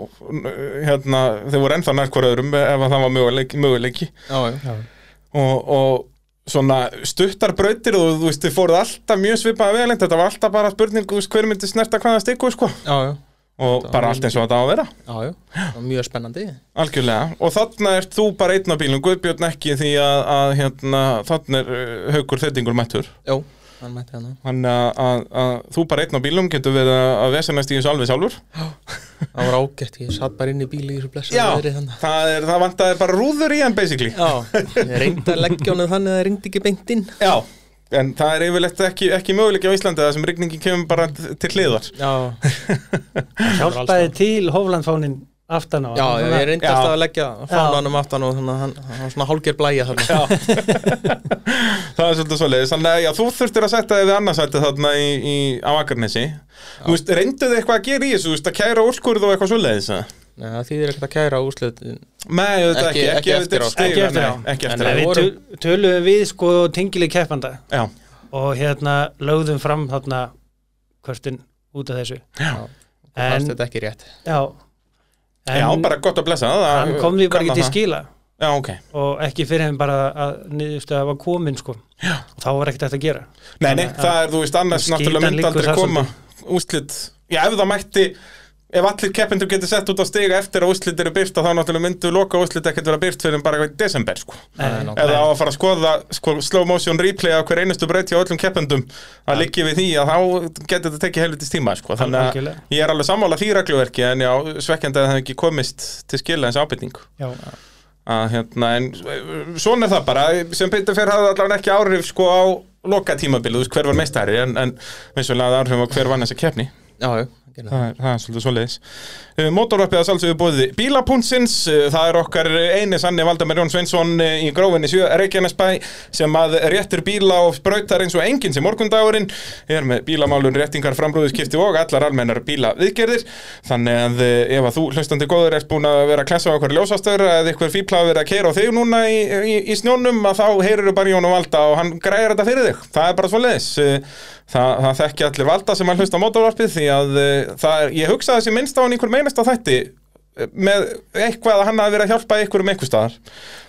hérna, þau voru ennþá nær hver öðrum ef að það var möguleiki, möguleiki. já, já, og, og svona stuttar brautir og þú veist, þið fóruð alltaf mjög svipaða vegalengd, þetta var alltaf bara spurning þú veist, hver myndi snerta hvaða stikku, sko já, já, og bara allt eins og þetta á að vera já, já. Það var mjög spennandi algjörlega, og þarna ert þú bara einn á bílum, Guðbjörn ekki því að, að hérna, þarna er uh, haukur þettingur mættur, já, hann mætti hann hann að, að, að þú bara einn á bílum getur verið að að vesanast í þessu alveg sjálfur það var ágætt, ég satt bara inn í bíli í þessu blessa Já, það, hérna. er, það vantaði bara rúður í hann basically já, ég reyndi að leggja honum þannig að það reyndi ekki beint inn Já, en það er yfirleitt ekki, ekki möguleiki á Íslandi þar sem rigningin kemur bara t- til hliðar já, hjálpaði til Hoflandfánin aftan á Já, hann, ég svona- reyndi Já. alltaf að leggja fánanum aftan og þannig að hann, hann var svona hálger blæja þarna Það er svolítið svoleiðis, þannig að já, þú þurftir að setja þig við annarsætti þarna í, í, á Akarnesi Þú veist, reynduðu eitthvað að gera í þessu, þú veist, að kæra úrskurð og eitthvað svoleiðis að Nei, það þýðir ekkert að kæra úrslitin Nei, auðvitað Ekki- ekki, ekki, ekki eftir á, sko. ekki, Ekki eftir á. nei, ekki En eftir á Nei, við vorum- töl- töluðum við sko tengileg keppanda Já, og hérna lögðum fram þarna kvörtin út af þessu Það en, þetta ekki rétt já, en já, bara uh, gott að blessa það hann kom því bara kann ekki til það. skila Já, ok og ekki fyrir henn bara að niðurstöða var komin sko já. þá var ekkert hægt að gera Nei, nei, Þannig að- það er, þú veist, annars Skítan náttúrulega myndi liggur aldrei þar koma úslit Já, ef það mætti Ef allir keppendur getur sett út á stiga eftir að úslit eru byrta þá náttúrulega myndu loka úslit ekkert vera byrt fyrir en bara í desember, sko Nei, Nei. nokkuð. Eða á að fara að skoða sko, slow motion replay af hver einustu breyti á öllum keppendum að liggi við því að þá getur þetta tekið helvitis tíma, sko Þannig að Algjörlega. ég er alveg sammála því regluverki en já, svekkjandi að það hefði ekki komist til skila eins ábyrningu Já. að hérna, en eh, svona er það bara sem Peter Fer hafði allavega ekki áhrif sko á loka tímabilið, þú veist hver var meistari en, en vissulega hafði áhrif á hver vann þessa keppni Já, já, það gerði það er, það er svolítið svoleiðis Eh, Mótorvarpið að sjálfsögðu bóði bílapúntsins eh, það er okkar eini sanni Valdamar Jón Sveinsson eh, í grófinni 7 Reykjanesbæ sem að réttir bíla og sprautar eins og enginn sem morgundagurinn er með bílamálun réttingar framrúðuskipti og allar almennar bílaviðgerðir þannig að eh, ef að þú hlustandi góður ert búin að vera að klessa á okkur ljósastöður eða eitthvað fípla að vera að keira á þig núna í, í, í snjónum að þá heyrir bara í Jón og Valda og hann græjar þetta fyrir þig það er bara svoleiðis Eh, Það, það þekki allir valda sem að hlusta á mótavarpið því að eh, það er, ég hugsa þessi minnst á hann einhver meinast á þætti eh, með eitthvað að hann hafi verið að hjálpa ykkur um eitthvað staðar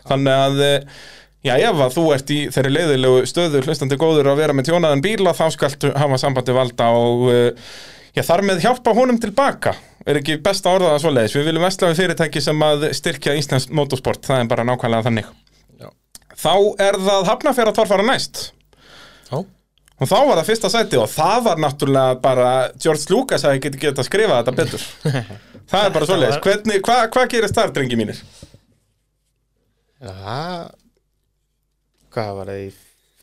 þannig að eh, já ef að þú ert í þeirri leiðilegu stöðu hlustandi góður að vera með tjónaðan bíla þá skaltu hafa sambandi valda og eh, já, þar með hjálpa honum tilbaka er ekki best að orða það svoleiðis við viljum vesla við fyrirtæki sem að styrkja Íslands motorsport, það er bara nákvæmlega þannig Já. þá er það hafnafjara torfara næst Já, Og þá var það fyrsta sæti og það var náttúrulega bara George Lucas að ég geti geta að skrifa þetta betur Það er bara svoleiðis, var- Hvernig, hvað hva gerist þar drengi mínir? það Hvað var það í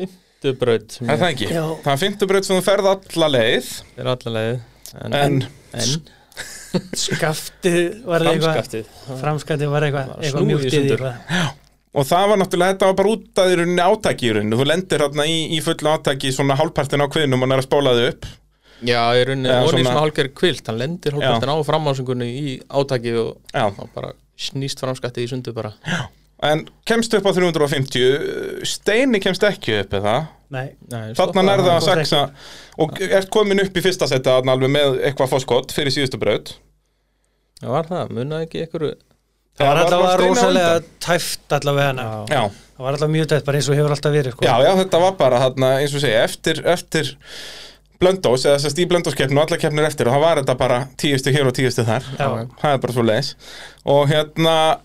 fymtu braut sem Er ég það ekki? Já. Það er fimmtu braut sem þú ferð alla leið fyrir alla leið En, En- en skaftið var eitthvað framskaftið framskaftið var eitthvað, Bara eitthvað snúið mjúkt í í því sundur. eitthvað. og það var náttúrulega, þetta var bara út að í rauninni átaki í rauninni, þú lendir hérna í, í fullu átaki svona hálfpartin á kviðnum og nær að spóla þau upp Já, ég Já, rauninni, ja, orðin svona- svona hálger kvilt Hann lendir hálfkvartin á framásingunni í átaki og Já, og bara snýst framskaftið í sundu bara en kemst upp á 350 eh, Steini kemst ekki upp eða Nei, Nei, Þarna stoppa- nærði það að hann saksa og ert komin upp í fyrsta setta alveg með eitthvað fóskott fyrir síðustu braut Já, var það, munaði ekki ykkur það var allavega Steini á rosalega undan. tæft allavega hana Já, Já, það var allavega mjög tæft bara eins og hefur alltaf verið sko. já, já, þetta var bara þarna, eins og segja, eftir, eftir blöndós, eða þess að stíð blöndóskeppnu og alla keppnir eftir og það var þetta bara tíustu hér og tíustu þar Já. það er bara svo leis og hérna,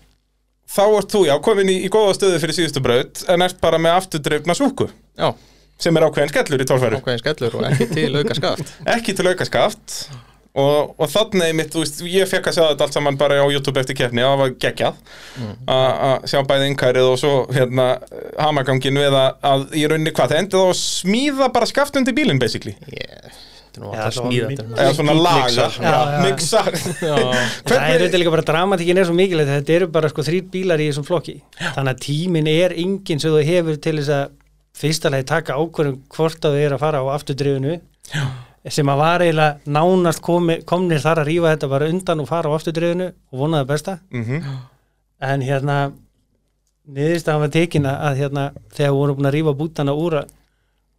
þá ert þú, já, komin í, í góða stöðu fyrir síðustu braut en ert bara með afturdreifna súku já sem er ákveðin skellur í tólfæru <laughs> ákveðin skellur og ekki til auka skaft ekki til aukaskaft og, og þannig mitt, þú veist, ég fekk að sjá þetta allt saman bara á YouTube eftir keppni og það var geggjað Mm. að að sjá bæði innkærið og svo hérna hamagangin við að, að í rauninni hvað, það endið á að smíða bara skaft undir bílinn basically, yeah. þetta er Já, nú alltaf þetta var smíða mynd- þetta eða svona laga Mixa, svona. Já, já. miksa Já, Það <laughs> er hvernig, auðvitað líka bara dramatíkin er svo mikilvægt þetta eru bara sko þrýr bílar í þessum flokki þannig að tíminn er enginn sem þú hefur til þess að fyrstalegi taka ákvörðum hvort að þau eru að fara á afturdrifinu sem að var eiginlega nánast komi, komnir þar að rífa þetta bara undan og fara á afturdrifinu og vonaði besta Mhm. en hérna niðurstaðan var tekin að- að hérna þegar við vorum búin að rífa bútana úr að-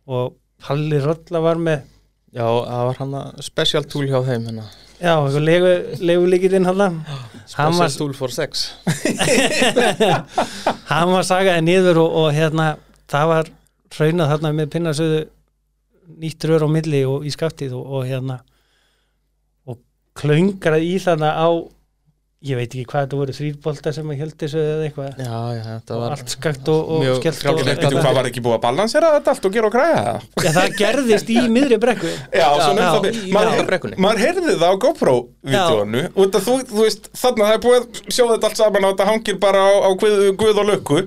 og Palli Rolla var með já, það var hann að special tool hjá þeim hérna. já, eitthvað legu- leguleikillinn hann Special var- tool for sex hann var sagaði niður og, og hérna það var hraunað þarna með pinnasöðu nýtt rör á milli og í skaftið og, og hérna og klöngrað í þarna á ég veit ekki hvað þetta voru þrýrbolta sem að heldi þessu eða eitthvað Já, já, þetta og var allt skakt og, og mjög skellt og frjálslegt veitum eitthvað. hvað var ekki búið að balansera þetta allt og gera og græja það Já, það gerðist í miðri brekku Já, Já, svona já, um það í- í maður, brekkunni. maður heyrði það á GoPro-vídeónu út að þú, þú veist, þannig að það er búið að sjá þetta allt saman og þetta hangir bara á, á guð, guð og lukku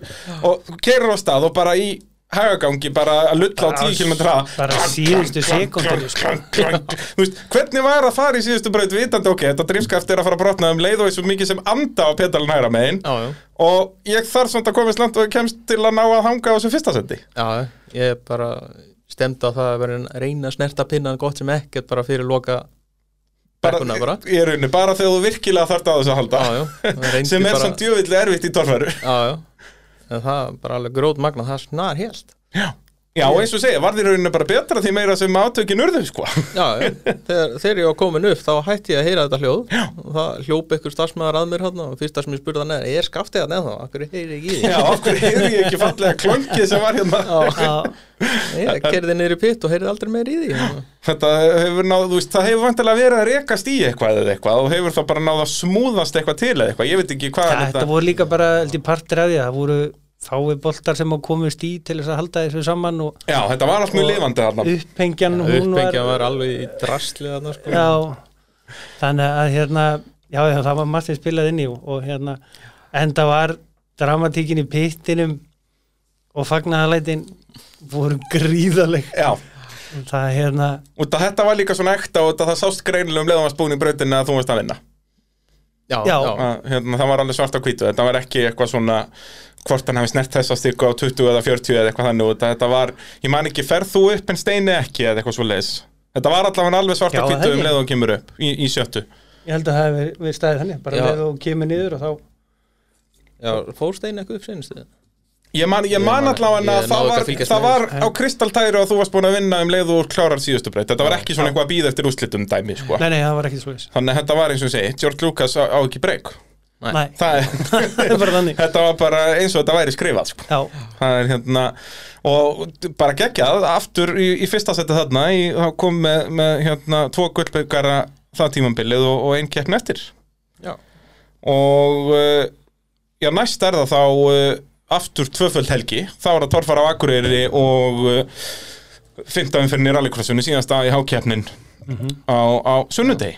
og þú keirir á stað og bara í hagagangi bara að lulla á Bara 10 km hraða bara Klang, síðustu klang, klang, sekúndunni, sko. klang, klang, klang. Þú veist, hvernig var að fara í síðustu braut vitandi, ok, þetta drifskaft er að fara að brotna um leið og eins og mikið sem anda á pedalin hægra megin Já, já, og ég þarf svona að komast langt og kemst til að ná að hanga á þessu fyrsta sendi já, ég bara stemdi á það að vera að reyna að snerta pinnan gott sem ekkert bara fyrir loka brekkuna bara í rauninni, bara þegar þú virkilega þarft á þessu að halda Já, já, <laughs> það reyndi sem er bara- samt djöfillig erfitt í torfæru Já, já, en það er bara alveg grót magna, það er snar helt Já, og eins og segja, varð í rauninu bara betra því meira sem átökin urðu, sko Já, já, þegar, þegar ég var komin upp þá hætti ég að heyra þetta hljóð og það hljóp ykkur starfsmæðar að mér hann og fyrsta sem ég spurði hann er, ég er skaftið hann eða, akkur heyri <laughs> ekki í því Já, af hverju heyrði ég ekki fallega klöngið sem var hérna Já, Ég kerði niður í pitt og heyrði aldrei meir í því Þetta hefur náð, þú veist, það hefur vantilega verið að rekast í eitthvað eða eitthvað og hefur þá bara náð að smúðast eitthvað til eða eitthvað, ég veit ekki hvað það, þetta voru líka bara held ég, partur af því það voru fái boltar sem að komist í til þess að halda þessu saman og Já, þetta var allt mjög lifandi þarna upphengjan hún var, Uppengja var alveg í drasli þarna sko já, þannig að hérna já, já það var margt sem spilað inn í og, og hérna, en það var dramatíkin í pittinum og fagnaðalætin voru gríðaleg Já, það hérna, út að þetta var líka svona ekta og út að það sást greinilegum leðum að spúin í brautinni að þú veist að vinna já, Já. að, hérna, Það var alveg svart á hvítu, þetta var ekki eitthvað svona hvort hann hefði snert þessa styrku á 20 eða 40 eða eitthvað þannig út að þetta var, ég man ekki, ferð þú upp en steini ekki eða eitthvað svo leis Þetta var allavega alveg svart á Já, það hvítu held um ég. leið og hún kemur upp í, í sjöttu ég held að það hefur verið staðið þannig, bara Já. leið og kemur niður og þá, já Fórstein eitthvað upp seinustu Ég man, ég Ég man man- allavega ég að það náði ekki var, að fylgjast það með var á kristaltæru og þú varst búin að vinna um leið og þú klárar síðustu breyt Þetta var ekki svona eitthvað að býða eftir úrslitum dæmi sko. nei, nei, það var ekkert slúðis Þannig að þetta var eins og ég segi, George Lucas á, á ekki breyk Nei. nei, það er <laughs> Þetta bara þannig var bara eins og þetta væri skrifað sko. já, Það er hérna og bara geggjað, aftur í, í fyrsta seti þarna, í, þá kom með, með hérna, tvo gullbyggara það tímambilið og, og einn keppn eftir Já, og uh, já, næst er það þá uh, aftur tvöföld helgi þá er það torfara á Akureyri og uh, fymta umfyrinni rallycrossinu síðasta í hákeppnin á, á sunnudegi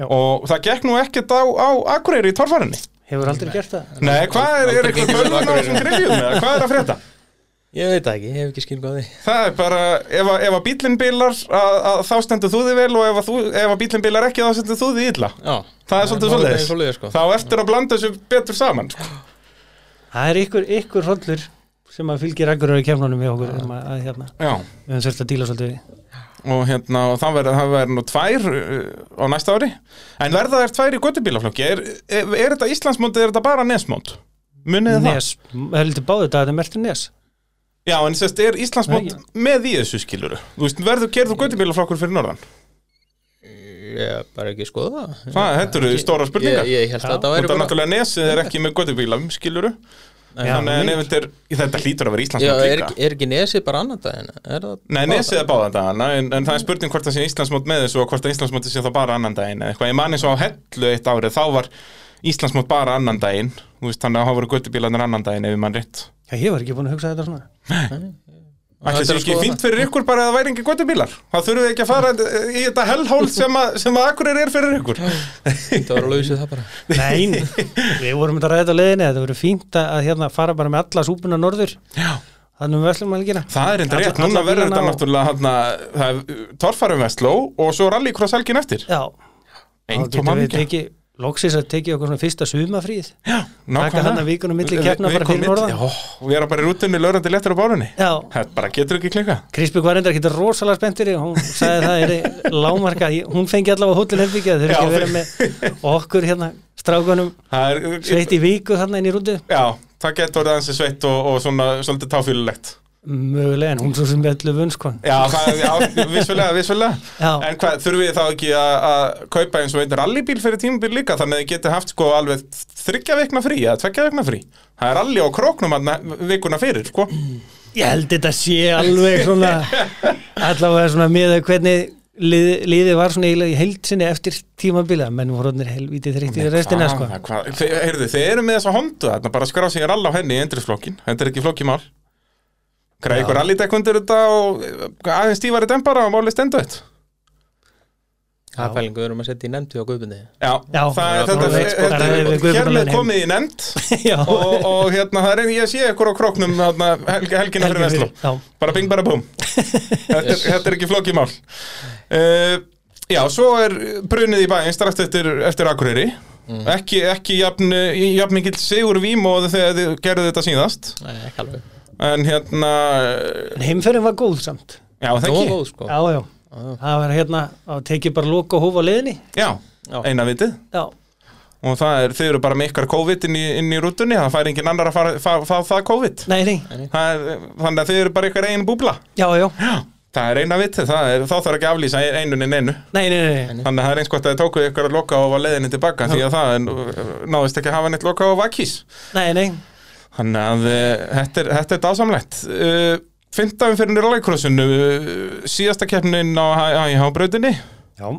Já. og það gekk nú ekkert á, á Akureyri í torfarinni hefur aldrei gert það Nei, hvað er, er Aldrei eitthvað gengið vel á bölvun á Akureyri. þessum griljum eða hvað er að frétta? ég veit það ekki, ég hef ekki skil góði Það er bara, ef að, ef að bílinn bilar að, að, þá stendur þú þig vel og ef að, þú, ef að bílinn bilar ekki þá stendur þú þig illa Já, Það er svolítið málið svoleiðis. svoleiðis sko. Þá eftir að blanda þessu betur saman sko. Það er ykkur, ykkur hrollur sem að fylgir akkurar í kemnunum hjá okkur um að, að hérna, Já, við höfum sérst að díla svolítið við. og hérna, og það verður það verður nú tvær uh, á næsta ári En verða þær tvær í göttubílaflokki? Er, er, er þetta Íslandsmónd eða er þetta bara Nesmónd? Munið þið það? Nes, það er lítið báðu þetta, þetta er mertur Nes Já, en sérst, er Íslandsmónd með í þessu skiluru? Þú veist, verður gerðu göttubílaflokkur fyrir norðan? Ég hef bara ekki skoða það Það, þetta eru stóra spurningar Ég, ég held að Já. þetta væri Þetta bara er náttúrulega nesið er ekki með göttubílam, skiluru Já, Þannig en mitt. ef þetta er, þetta hlýtur að vera Já, Íslandsmót er, líka ekki- er ekki nesið bara annan daginn? Er það Nei, nesið er báða dagana, en, en það er spurning hvort það sé Íslandsmót með þessu og hvort að Íslandsmóti sé það bara annan daginn eða eitthvað, ég man eins og á hellu eitt árið, þá var Íslandsmót bara annan daginn þú veist, þannig að það voru göttubílarnir annan daginn ef ég man rétt Já, ég var ekki búin að hugsa þetta svona Ætli Þetta sé er að ekki skoða fínt fyrir ykkur bara að það væri engin göttubílar Það þurfum við ekki að fara í þetta hellhól sem að, sem að akkurir er fyrir ykkur Þetta var að lausið það <laughs> bara Nein, <laughs> við vorum að ræða á leiðinni þetta verður fínt að, að hérna fara bara með alla súpuna norður, um Já, þannig við verslum að gera það er enda Alla- rétt, núna alla verður þetta bílana og- náttúrulega hana, það er torfarum vestló og svo rallycross helgin eftir Já, þá Eintóm getum við hamingja. tekið loksins að tekið okkur svona fyrsta sumafríð Já, taka hann nákvæmlega. að vikunum milli Vi- keppna vi- bara vikum fyrir milli. norðan Já, við erum bara í rútunni lögrandi lettur á bárunni Já, Þetta bara getur ekki klika Krispjörg var reyndar ekki rosalega spenntir í, hún sagði það er lámarka, Ég- hún fengi allavega hóllin herbyggja þau eru ekki Já, að vera með okkur hérna strákunum Það er sveitt í viku þarna inn í rútu Já, það getur orðið aðeins sveitt og, og svona svolítið táfýlulegt mögulega en hún svo sem við sko. allu vunskon Já, það, já vissulega, vissulega Já, En hvað, þurfum við þá ekki að að kaupa eins og einn rallybíl fyrir tímabil líka þannig að þið geti haft sko alveg þryggja vekna frí eða tveggja vekna frí Það er rally á króknum hann vikuna fyrir, sko ég held þetta sé alveg svona allavega svona með að hvernig lið, liðið var svona eiginlega í heildsinni eftir tímabila, menn voru orðnir helvítið þreyttir í restina sko <laughs> Hvað- hvað- þið- Heyrðu, þið eru með þessa hondu þarna bara skrá sig rall á henni í endrisflokkin Þetta er ekki flókimál Græði ykkur rallydekk undir þetta og eh, aðeins stífari dembara og máli stendu þetta Það er pælingu, við erum að setja í nefndi á guðbundi Já, Já, sko, það er það þetta, er bara- þetta, bara við- við þetta guðum hér með alveg heim. komið í nefnd <laughs> Já, og, og hérna það er einn ég sé ykkur á króknum hérna, helgi, helgina fyrir helgin Vestló fyrir, já bara bing bara búm þetta, er- þetta er ekki flókið mál uh, já, svo er brunið í bæinn strax eftir, eftir Akureyri Mm. ekki, ekki jafn, jafn mikill sigur vímóð þegar þið gerðu þetta síðast Nei, ekki alveg en hérna En heimferðin var góð samt já, það Nóa ekki, góð, sko Já, já, það var hérna að tekið bara loka og hófa leiðinni já, Já. eina vitið Já, og það er, þið eru bara með ykkar COVID inn í, inn í rútunni, það fær engin annar að fara, fara, fara það COVID nei, nei, það er, þannig að þið eru bara ykkar eigin búbla já, já Já, það er eina vitið, það er, þá þarf ekki að aflýsa einun en einu. Nei, nei, nei, nei. Þannig að það er eins gott að þið tókuðu ykkur að loka og var leiðinni tilbaka því að það er- náðist ekki að hafa neitt loka og vakís. nei, nei. Þannig að eh, þetta er, þetta er dásamlegt. Uh, Fyndaðum fyrir nýrlækrossinu, uh, síðasta keppnin á HH-brautinni. Já.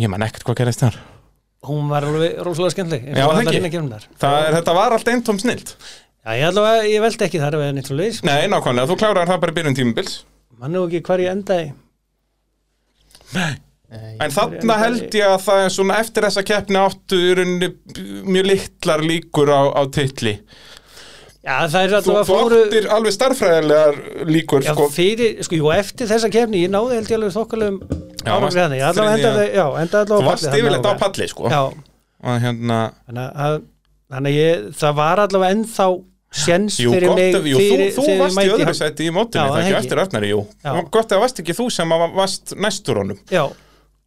Ég man ekkert hvað gerist þar. Hún var alveg rosalega skemmtleg Já, það ekki. ekki Já, Það er, þetta var allt eintóm snilt. ég allavega, ég veldi ekki þar að vera neitt svo leiðis Nei, nákvæmlega, þú klárar það bara í byrjun tímubils. Mann er ekki hvar ég endaði En þarna held ég að það er svona eftir þessa keppni áttu í rauninni mjög litlar líkur á, á titli. Já, það er Þú allavega þú fóru áttir alveg starffræðilegar líkur Já, sko. fyrir, sko, jú, eftir þessa kefni Ég náði held ég alveg þokkalum Já, árangri varst þarna. Ég allavega þriðja- endaði, já, endaði Þú allavega á varst palli þarna yfirleitt á og- palli sko. Já, og hérna þannig að þannig að ég, það var allavega ennþá séns Jú, fyrir gott mig ef, jú, fyrir, þú, þú þegar ég varst í mæti öðru hann. seti í mótinu, Já, það það ekki hegi. eftir öfnari, jú. Já. Og Gott að varst ekki þú sem að varst næstur honum já,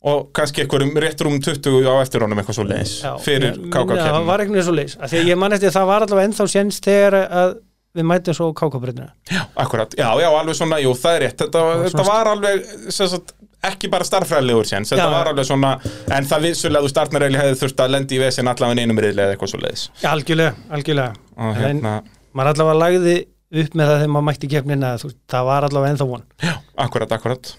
og kannski einhverjum rétt rúm 20 á eftir honum eitthvað svo leiðis já, fyrir Ég- Já, það kákakeppnum. var ekki svo leis því að ég man eftir að það var allavega ennþá séns þegar að við mætum svo kákabröðina Já, akkurat, já, já, alveg svona, jú, það er rétt. Þetta, var þetta svona- var alveg, sem sagt, ekki bara starffræðilegur séns, þetta Já. var alveg svona, en það vissulega þú starfnareili hefði þurft að lendi í vesin allavega einum riðlega eða eitthvað svo leiðis. algjörlega, algjörlega Og hérna, en maður allavega lagði upp með það þegar maður mætti kefnina þú, veist, það var allavega ennþá von Akkurat, akkurat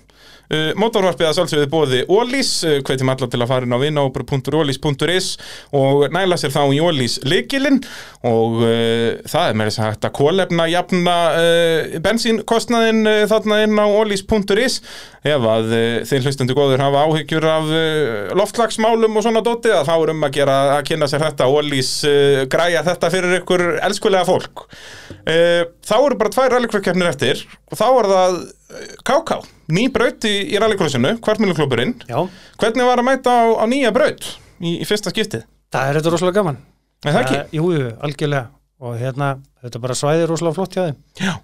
Uh, Mótorvarpið að sjálfsögðu bóði Ólís, uh, hvetjum alla til að fara inn á vinnópr.ólís.is og næla sér þá í Ólís lykilinn og uh, það er með þess að segja hægt að kólefna, jafna uh, bensínkostnaðin uh, þarna inn á ólís.is ef að uh, þeir hlustandi góður hafa áhyggjur af uh, loftlagsmálum og svona dotið að þá er um að gera að kynna sér þetta Ólís uh, græja þetta fyrir ykkur elskulega fólk uh, Þá eru bara tvær rallycrosskeppnir eftir og þá er það eh, KK, ný braut í, í rallycrossinu, kvartmjöluklubburinn já, Hvernig var að mæta á, á nýja braut í, í fyrsta skiptið? það er þetta rosalega gaman Er það ekki? jú, jú, algjörlega og hérna, þetta bara svæði rosalega flott hjá þeim Já,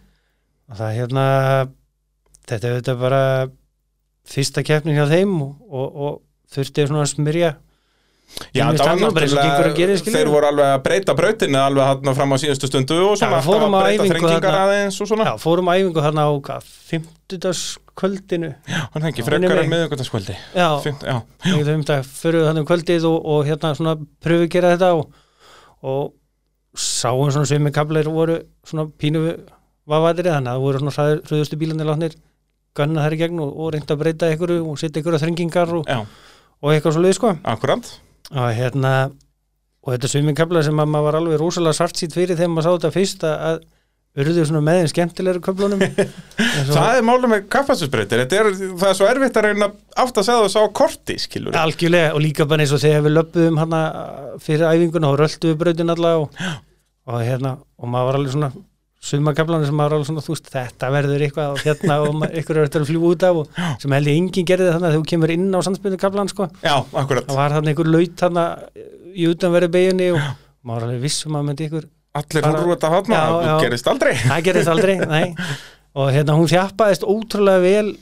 og það hérna þetta er auðvitað bara fyrsta keppnin hjá þeim og, og, og þurfti svona að smyrja já Mér finnst það var alveg bara eins og gengur að gera, náttúrulega, skilur. þeir voru alveg að breyta brautinu alveg hann fram á síðustu stundu og Já, svona við fórum alltaf á að breyta æfingu þrengingar þarna. aðeins og svona já, fórum á æfingu þarna á hvað, fimmtudagskvöldinu Já, hann hengi Minnir frekar mig. en miðugvöldaskvöldi já, Já, einhvern veginn það fyrir þannig um kvöldið og, og hérna svona pröfu gera þetta og, og sáum svona sem kablar voru svona pínu vafaðri þannig að það voru svona hröðustu bílarnir látnir gunna þær í gegn og, og reynda að breyta ykkur og setja ykkur að þrengingar og, já, og eitthvað svo sko akkurant og hérna og þetta sumingkabla sem að maður var alveg rosalega svart sýtt fyrir þegar maður sá þetta fyrst að- að urðu svona með þeim skemmtilegur <laughs> köflunum En svo- Það er málum með kappasusbreytir, það er svo erfitt að reyna átt að segja þessu á korti, skilur við. Algjörlega og líka bara eins og þegar við löppuðum hana fyrir æfinguna og röltum við brautin allavega og, og hérna og maður var alveg svona sumakaflanir sem maður var alveg svona þú veist þetta verður eitthvað og hérna og ma- ykkur er eftir að fljúa út af og sem held ég enginn gerði þannig að þú kemur inn á sandsbyrnu kaflan sko Já, akkurat. það var þannig einhver laut þarna í utanverðu beginni og maður var alveg vissum að myndi ykkur Allir Bara- hún rúta hátna, Já, það já. gerist aldrei. það gerðist aldrei, nei og hérna hún þjappaðist ótrúlega vel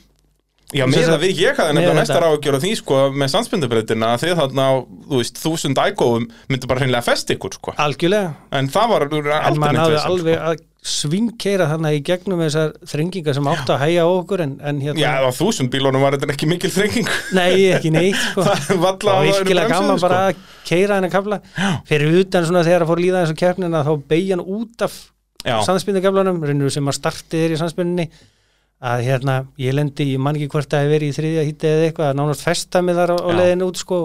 Já, Sem með sagt- það við ég hafði nefnilega Miðað næstar þetta. ágjör á því, sko, með sandsmyndabreytirna að þið þarna, á, þú veist, þúsund ægófum myndu bara hreinlega fest ykkur, sko. algjörlega En það var aldrei en maður náði vesen, sko. alveg að svingkeira þannig í gegnum þessar þrengingar sem áttu að hæja á okkur en, en Sko. Já, hérna, á þúsund bílunum var þetta ekki mikil þrenging. nei ekki neitt <laughs> sko. Það er valla að og það eru virkilega bremsur, gaman sko. bara að keira henni kafla fyrir utan svona þegar að fór að líða eins og keppnina þá beigja hann út af Já. sandspinnukaflanum, reynur sem að starti þér í sandspinninni að hérna, ég lendi, ég man ekki hvort að hef verið í þriðja hýtti eða eitthvað, að nánast festa mig þar á, á Já. leiðinu út sko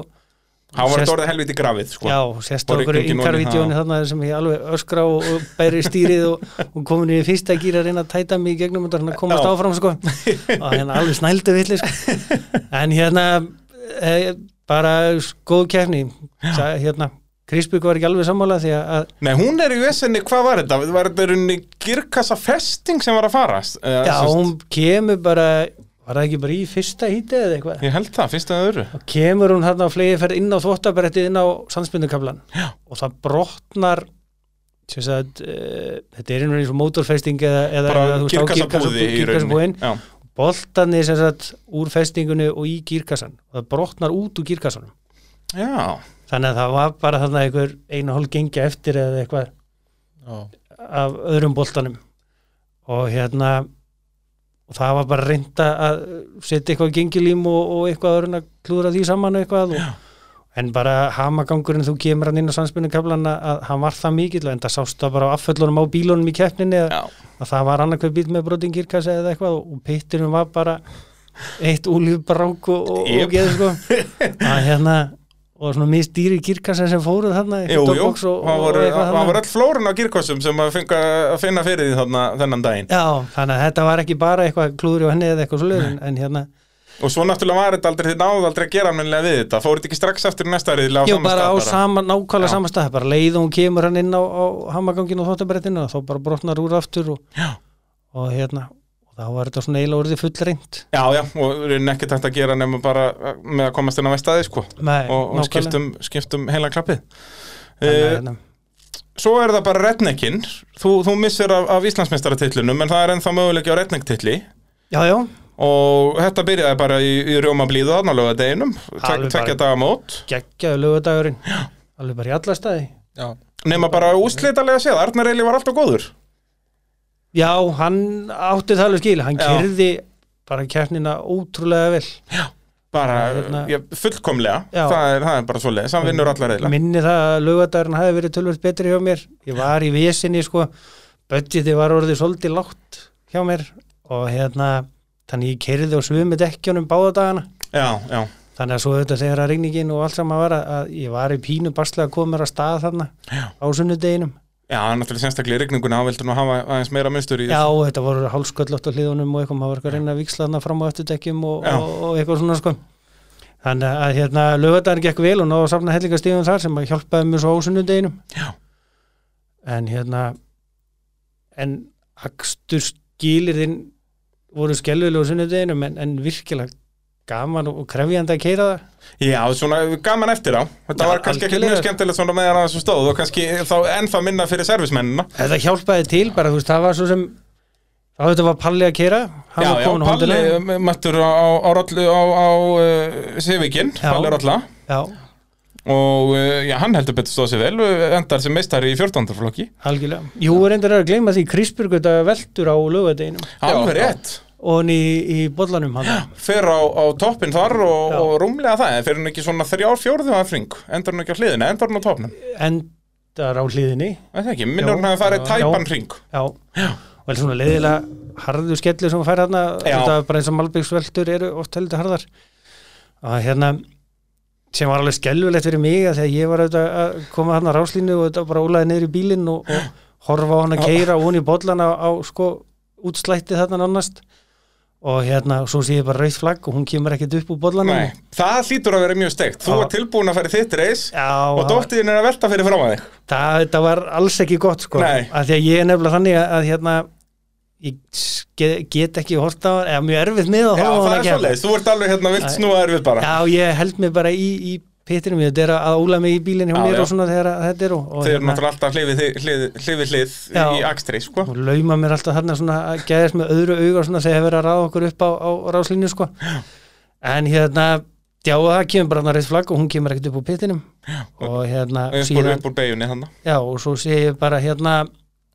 Hann var Sérst- þetta orðið helviti grafið, sko. Já, sérst á Og okkur rigningin ofan í yngarvídjóni það. þarna sem ég alveg öskra og, og bæri stýrið og, og komin í fyrsta gýr að reyna að tæta mig í gegnum þetta að komast Já. áfram <laughs> sko og hérna alveg snældu villi sko. en hérna e, bara s- góð keppni Sa- hérna, Krisbjörg var ekki alveg sammála því að að- Nei, hún er í vesenni, hvað var þetta? Var þetta runni girkassa festing sem var að farast? Eh, já, sem sagt, hún kemur bara var það ekki bara í fyrsta hítið eða eitthvað Ég held það, fyrst að það öðru. og kemur hún hérna á flegi ferð inn á þvottabrættið inn á sandspinnukablan og það brotnar sem sagt, uh, þetta er einhvern veginn svo mótorfesting eða, eða, Bara eða þú veist, á girkassa búði girkassa- í girkassabúðin. rauninni. Já, boltarnir sem sagt úr festingunni og í gírkassan og það brotnar út úr gírkassanum já. þannig að það var bara þarna einhver einu hálf gengja eftir eða eitthvað Já. af öðrum boltanum og hérna og það var bara reynda að setja eitthvað gengilím og, og eitthvað öðrun að klúðra því saman og eitthvað og, en bara hamagangurinn þú kemur hann inn á sannsbyrnu kaflan að hann var það mikill en það sást það bara á afföllunum á bílunum í keppninni að, Já. að það var annarkveð bíl með brotin kirkasa eða eitthvað og, og pittinum var bara eitt úlífbrák og, og, Jep. og geð sko <laughs> að hérna og svona mistýri kirkasa sem fóruð þarna í Jú, jú, Dropbox og- og það voru- eitthvað það þarna. voru öll flórun á girkassum sem að, fenga, að finna fyrir því þarna, þennan daginn. Já, þannig að þetta var ekki bara eitthvað klúður á henni eða eitthvað svo en, en hérna, Og svo náttúrulega var þetta aldrei, þið náðu aldrei að gera almennilega við þetta. Fóruð ekki strax aftur í næsta riðilega á jú sama bara á stað sama, nákvæmlega Já. sama stað, bara leið og hún kemur hann inn á, á hamaganginu og þóttabrettinu og þá bara brotnar úr aftur og, Já. og hérna, og þá var þetta svona eiginlega orðið fullreint Já, já, og við erum ekkert hægt að gera nema bara eh, með að komast inn á vestæði, sko. Nei, Og, og nákvæmlega. skiptum, skiptum heila klappið. Þannig Uh, að, hérna, svo er það bara redneckinn þú, þú missir af, af Íslandsmeistaratitlinum en það er ennþá möguleiki á rednecktitli Já, já, og þetta byrjaði bara í, í rjóma blíðu þarna lögða deginum Alveg tvekja daga mót geggjaðu lögadagurinn alveg bara í alla staði Já. nema bara úslitalega séð, Arnar Eili var alltaf góður Já, hann átti það alveg skil, hann Já. kyrði bara keppnina ótrúlega vel bara Já, hérna- já, fullkomlega, Já. Hérna það er, það er bara svoleiðis hann vinnur allar eila minni það að laugardagurinn hafi verið tölvöld betri hjá mér ég var í vesinni sko budgeti var orðið svolítið lágt hjá mér og hérna þannig ég kerði og svið með dekkjónum báða dagana já, já, þannig að svo þetta þegar að regningin og allt saman var að, að ég var í pínu basla að koma mér að stað þarna Já. á sunnudeginum já, náttúrulega sérstaklega í rigninguna hann vildi nú hafa aðeins meira munstur í já, þetta voru hálsköllótt á hliðunum og eitthvað, maður var eitthvað að reyna að viksla þarna fram á eftirdekkjum og, Já. og, og eitthvað svona sko þannig að hérna lögadagurinn gekk vel og náðu að safna hellingastíðum þar sem að hjálpaði mér svo á sunnudeginum já, en hérna en akstur skilirðin voru skellulega á sunnudeginum en, en virkilega gaman og og krefjandi að keira það já, svona gaman eftir á þetta Já, var kannski ekki mjög algjörlega. skemmtilegt svona meðan að þessu stóð og kannski þá ennþá minna fyrir servismennina þetta hjálpaði til bara þú veist það var svo sem þá þetta var Palli að keira hann Já, var já, komin á Palli hóndina eh, mættur á, á, á, rollu, á, á uh, Sivikinn, Já. Palli Rolla já, og uh, já, hann heldur betur stóð sér vel eh, endar sem meistari í 14. flokki algjörlega, jú reyndar er að gleyma því Krisbjörg þetta veldur á lögadeginum alveg rétt, og hann í, í bollanum hann fer á, á toppin þar og, Já. og rúmlega það en fer hann ekki svona þrjár fjórðu af fring endar hann ekki á hliðina, endar hann á toppnum endar á hliðinni það ekki, minnur Já. hann hafi farið Já. tæpan hring Já, og er svona leiðilega harðu skellu sem hún fær hérna Já. þetta er bara eins og malbyggsveldur eru oft heldur harðar að hérna sem var alveg skelvulegt fyrir mig að þegar ég var auðvitað að koma hérna ráslínu og þetta bara ólaði niður í bílinn og, og horfa á hann Já. að keira og hún í bollana á, á sko útslætti þarna nánast og hérna, svo sé ég bara rauð flagg og hún kemur ekkert upp úr bollana Nei, það hlýtur að vera mjög steikt. Þú Já. var tilbúin að fara í þitt reis Já, og það- dóttiðin er að velta fyrir fram að þig. það, þetta var alls ekki gott sko, Nei. að því að ég er nefnilega þannig að, að hérna ég get, get ekki hort á, eða mjög erfitt með að Já, horfa á það hann er að kemur svoleiðis. Þú ert alveg hérna vilt Nei. snúaður við bara. Já, ég held mig bara í, í pittinum þetta er að óla mig í bílinni hjá Já, mér já. og svona þegar að þetta er og, og, Þau eru náttúrulega alltaf hlið við hlið- hlið, hlið, við hlið hérna. Já. í akstri, sko. og lauma mér alltaf þarna svona að gæðast með öðru auga svona þegar verið að ráða okkur upp á, á ráslínu sko en hérna, já og það kemur bara hann reitt flagg og hún kemur ekkert upp úr pittinum og hérna Upp úr, síðan, upp úr beginni hann. já og svo sé ég bara hérna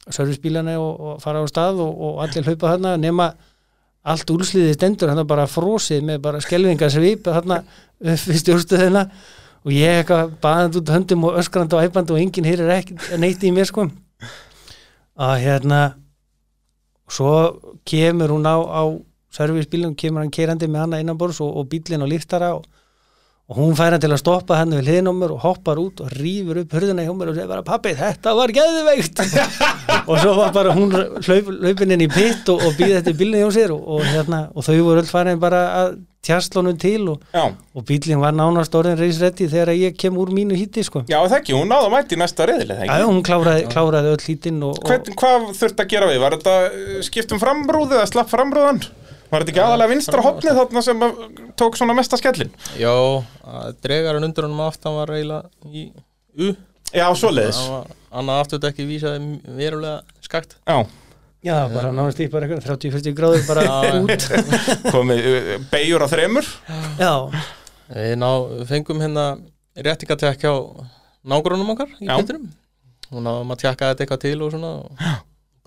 servicebílana og, og fara á stað og, og allir hlaupa þarna nema allt úlsliðið stendur hann bara frosið með bara skelvingar svip hann við stjórstuðina og ég eitthvað baðandi út höndum og öskrandi og æpandi og enginn heyrir ekki neitt í mér sko að hérna svo kemur hún á, á servisbílum, kemur hann keirandi með hana innanborðs og, og bílinn og líftara og, og hún fær hann til að stoppa hann við hliðin á mér og hoppar út og rýfur upp hurðina hjá mér og segir bara pappi þetta var geðveikt og svo var bara hún hlaup, hlaupin inn í pitt og, og býði þetta bílinn hjá sér og, og, hérna, og þau voru öll farin bara að tjastlónum til og, Já. og bílinn var nánast orðin reisrætti þegar ég kem úr mínu híti sko. Já, það ekki, hún náða mætt í næsta reyðileg, það Já, ekki. já, hún kláraði, kláraði öll hítinn og, og Hvern, hvað þurft að gera við? Var þetta eh, skiptum frambrúðu eða slapp frambrúðan? Var þetta ekki aðalega vinstra hopnið þarna sem að tók svona mesta skellin? Já, að dregarinn undir honum aftan var eiginlega í U Já, svoleiðis. Það var annað afturdekki vísaði verulega skakt Já, já, bara nánast í bara eitthvað 30-40 gráður bara út <laughs> komið uh, beigur á þremur. Já, Við ná, fengum hérna réttingatekk hjá nágrunum okkar í Já. pittinum og náðum að tjekka þetta eitthvað til og svona og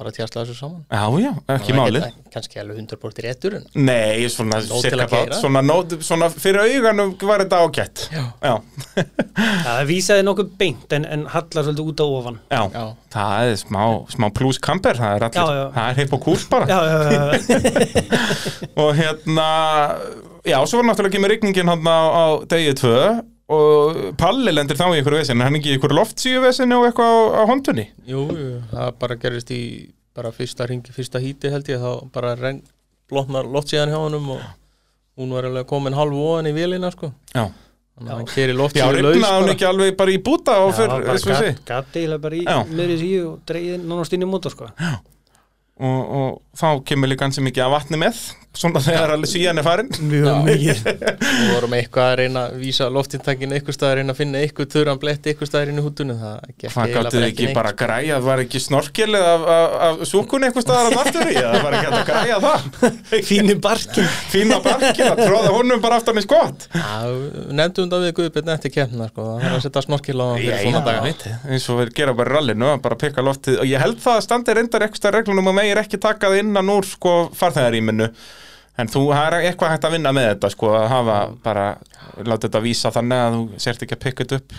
bara tjastla þessu saman Já, já, ekki Það var málið. ekkert- Kannski alveg 100% réttur en Nei, svona, Nóg til cirka að bát, keyra. svona, nót- svona fyrir auganum var þetta ágætt. Já. Já, <laughs> það vísaði nokkuð beint en, en hallar svolítið út á ofan já. Já, Það er smá, smá pluskamper, það er allir, Já, já. það er heip og kúrs bara. Já, já, já, já. og hérna já, svo var náttúrulega kemur rigningin hann á, á degi tvö og Palli lendir þá í einhverju vesinu, hann er ekki í einhverju loftsíu vesinu og eitthvað á, á hondunni jú, jú, það bara gerist í bara fyrsta ringi, fyrsta híti held ég þá bara reng, blotnar loftsíðan hjá honum og hún var alveg komin hálf óan í vélina sko já, þannig að hann keri já loftsíðu laus rignaði hún bara. ekki alveg bara í búta og fyrr, bara þess að sé gat- gat eiginlega bara í Já. miðri síu og dreiðin nánast inn í mótor sko. og, og þá kemur líka hansi mikið að vatni með svona þegar alveg síðan er farin Mjög <laughs> mikið Við vorum eitthvað að reyna að vísa loftintakinn eitthvað staðar reyna að finna eitthvað törran blett eitthvað staðar inn í húttunni það gekk hvað eiginlega gáttu þið ekki neitt. bara að græja var ekki snorkilið af, af, af súkunni eitthvað staðar að aftur í það var ekki hægt að græja það <laughs> Fínu barkin fína barkina, tróða honum bara aftan í skott Já, við nefndum þetta við Guðbjörn eftir keppna sko, það var að setja snorkil á hann fyrir svona daga veit þið. eins og við gera bara í rallinu að bara pikka loftið og ég held það að standi reyndar eitthvað reglunum að megir ekki taka það innan úr sko farþegaríminu en þú það er eitthvað hægt að vinna með þetta sko að hafa bara láta þetta vísa þannig að þú sért ekki að pikka þetta upp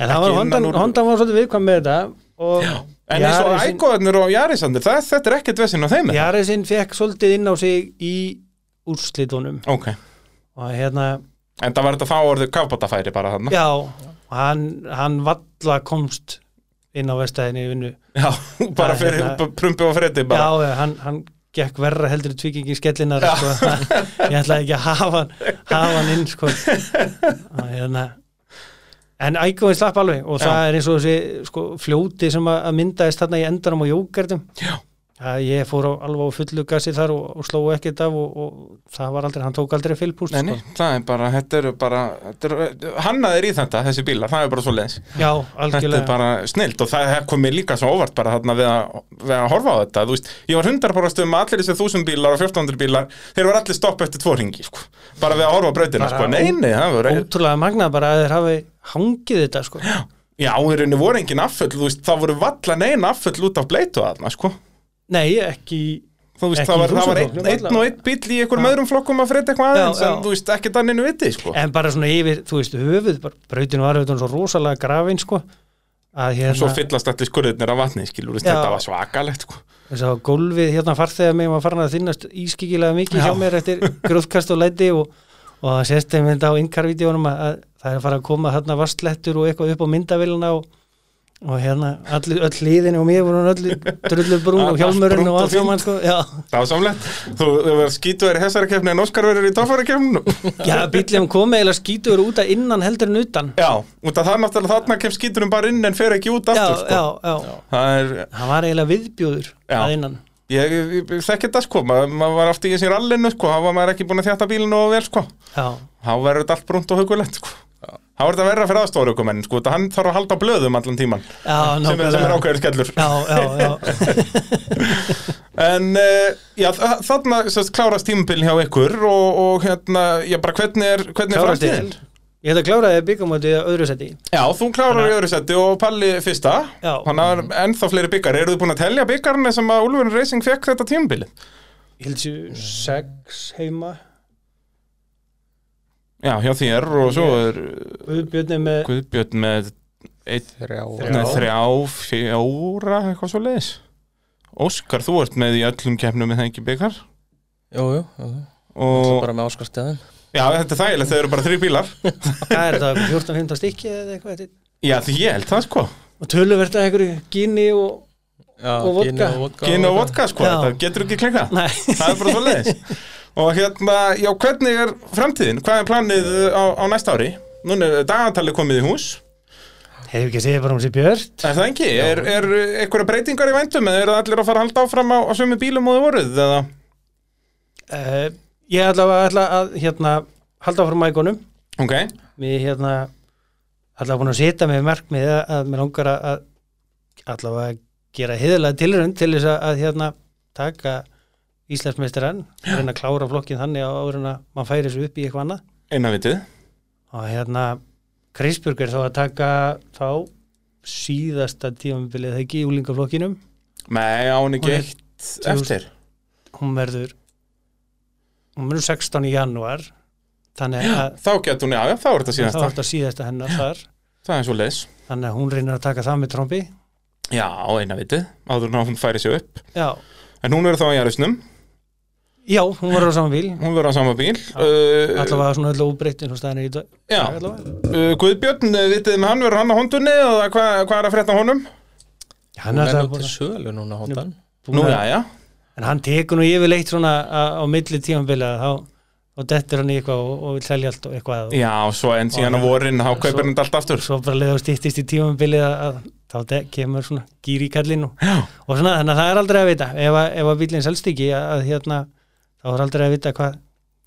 En það var Ekki innan Hondan, úr- Hondan var svolítið viðkvæm með þetta og en eins og Jarisin- ægóðanir og jarisandir það, þetta er ekkert vesinn á þeim er það? Jarisin fekk svolítið inn á sig í úrslitunum ok, og hérna, en það var þetta þá orðið kafbótafæri bara þarna já og hann, hann valla komst inn á vestæðinni í vinnu já, bara Það, fyrir hérna- hérna. prumpi og fredi bara Já, já, hann, hann gekk verra heldur í tvíkingi skellinar sko. <laughs> ég ætlaði ekki að hafa hann hafa hann inn sko. Að, hérna. en ægum slapp alveg og það er eins og þessi sko, fljóti sem að að myndaðist þarna í endanum og jókertum Já. að ég fór á, alveg á fullu gasi þar og, og sló ekkert af og, og það var aldrei, hann tók aldrei fylgpúst Nei, nei, sko. það er bara, þetta eru bara þetta eru, hannaðir í þetta, þessi bílar, það er bara svo já, Þetta er algjörlega bara snilt og það kom mér líka svo óvart bara þarna við að, við að horfa á þetta Þú veist, ég var hundarparastum með allir þessi þúsund bílar og 1400 bílar, þeir voru allir stopp eftir tvo ringi, sko, bara við að horfa á brautina Bara sko, nei, nei, það voru ótrúlega magnað bara að þeir hafi hangið þetta sko. já, í rauninni voru engin afföll, þú veist, það voru valla neina afföll út af bleitu aðna, sko nei, ekki þú veist, Ekki það var, það í var þúsundum, einn, varla. einn og einn bíl í einhverjum öðrum flokkum að fredda eitthvað Já, aðeins, já. en þú veist, ekki danninu viti, sko en bara svona yfir, þú veist, höfuð bara, brautin var auðvitað svo rosalega grafin sko, að og svo hérna fyllast allir skurðirnir af vatni, skilur, Já. þetta var svakalegt, sko þess að gólfið hérna farþegar mig var farin að þinnast ískikilega mikið Já. hjá mér eftir gróðkast og læti og, og það sést þeim þetta á yngarvídeónum að, að það er að fara að koma hérna vastlettur og eitthvað upp á myndavélina og og hérna all, öll liðin og mér voru öll drullur brún Allt og hjálmurinn brúnt og og allt fínt. saman sko já, Dásamlegt, þú verður skítuður í þessari kefni en Óskar verður í toffari kefninu já bíllum kom eiginlega skítur út að innan heldur en utan Já, út af það er náttúrulega þarna kem skíturum bara inn en fer ekki út já, aftur já, sko. já, Það er, hann var eiginlega viðbjóður Já. að innan ég, ég, ég þekki þetta sko, Ma- maður var aftur í þessi rallinu sko, þá var maður ekki búin að þjætta bílinu og vel sko já, Þá verður þetta allt brúnt og hugulegt sko Þá er þetta verra fyrir aðstóru okkur menn sko, þetta hann þarf að halda á blöðum allan tíman já, sem, er- sem er nákvæmlega. ákveður skellur já, já, já, En uh, já, þa- þarna sérst, klárast tímabilin hjá ykkur og, og hérna, já bara hvernig er, hvernig er kláraði framtíðin? ég hefði kláraði byggamóti að öðru seti Já, þú klárar í öðru seti og Palli fyrsta Já. Þannig að það er ennþá fleiri byggar Eru þið búin að telja byggarna sem að Úlfurinn Racing fekk þetta tímabili? ég held sér sex heima Já, hjá þér og svo er Guðbjörni með Guðbjörn með eitt, Þrjá nei, þrjá, fjóra eitthvað svo leiðis Óskar, þú ert með í öllum keppnum með það ekki byggar Jú, jú, jú, jú. og, bara með áskarstæðin Já, þetta er þægilegt, þau eru bara þrjú bílar hvað er það, 14-15 stykki eða eitthvað þetta er- Já, því ég held það sko og töluvert að einhverju gíni og Já, Og vodka. gin vodka Ginn og vodka sko, Já. þetta getur ekki klikkað nei, Það er bara svo leiðis Og hérna, já, hvernig er framtíðin? Hvað er planið uh, á, á næsta ári? Núna er dagatali komið í hús hefur ekki að segja bara um sér björn Er það ekki? Er, er eitthvað breytingar í væntum? Eða eru allir að fara að halda áfram á, á sömu bílum og þið voruð? Eða? uh, ég ætla að, ætla að hérna, halda áfram mækunum Ok, mér hérna allavega búin að setja mig markmið að, að mér langar að að allavega gera heiðlega tilrönd til þess að, að hérna taka Íslandsmeistarann reyna að klára flokkin þannig á áður en að maður færi þessu upp í eitthvað annað innavitið og hérna Krisbjörg er þá að taka þá síðasta tímabilið það ekki í úlingaflokkinum Nei, á hann ekki Hún er eitt eftir hún verður hún verður 16. í janúar þannig að Þá getur hún, já, já, þá er þetta þá er síðasta þetta síðasta hennar þar Það er svo leiðis þannig að hún reynir að taka það með trombi Já, innavitið, áður en að hún færi sig upp já En hún verður þá í Jærisnum, Já, hún var á saman bíl hún verður á sama bíl uh, allavega svona öllu óbreytt eins og staðan er í dag Já, allavega. Uh, Guðbjörn, uh, vitið þið með hann, verður hann á hondunni eða hvað hva er að frétta af honum? Hann er Hún er nú allavega til búin sölu núna hóttan að- Nú, búin já, að já, en hann tekur nú yfirleitt svona að- á milli tímanbila þá og dettur hann í eitthvað og, og vil selja allt og eitthvað og já, svo enn síðan á Og- vorin, þá svo- kaupir hann þetta allt aftur svo bara leða og stýttist í tímanbili að, að þá de- kemur svona gýr í kallinu Já. og svona þannig að það er aldrei að vita ef að, ef að bílinn selst ekki að, að hérna þá er aldrei að vita hvað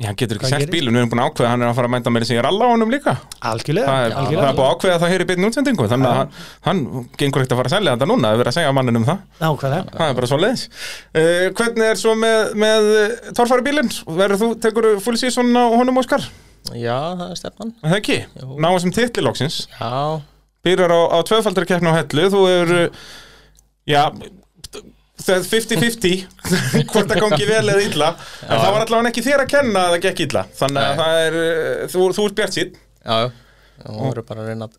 Já, hann getur ekki Hvað sett gerist? bílun, við erum búin að ákveða að hann er að fara að mænda meira sig í ralla á honum líka algjörlega, Það er, það er búin að ákveða það hér í byrni útsendingu þannig að hann, hann gengur ekkert að fara að selja þetta núna það er verið að segja manninum um það, nákvæmlega það er bara svo leiðis uh, Hvernig er svo með, með torfari bílinn? Verður þú, tekur full season á honum Óskar? Já, það er stefnan Er Það ekki? Jú. Náum sem titli loksins Já, byrjar á, á tvöfaldri keppni á hellu þú er já það er 50-50 <laughs> hvort það gangi vel eða illa en það var allavega ekki þér að kenna að það gekk illa þannig að Nei. það er, uh, þú, þú ert bjart sítt já, já Hún verður bara að reyna að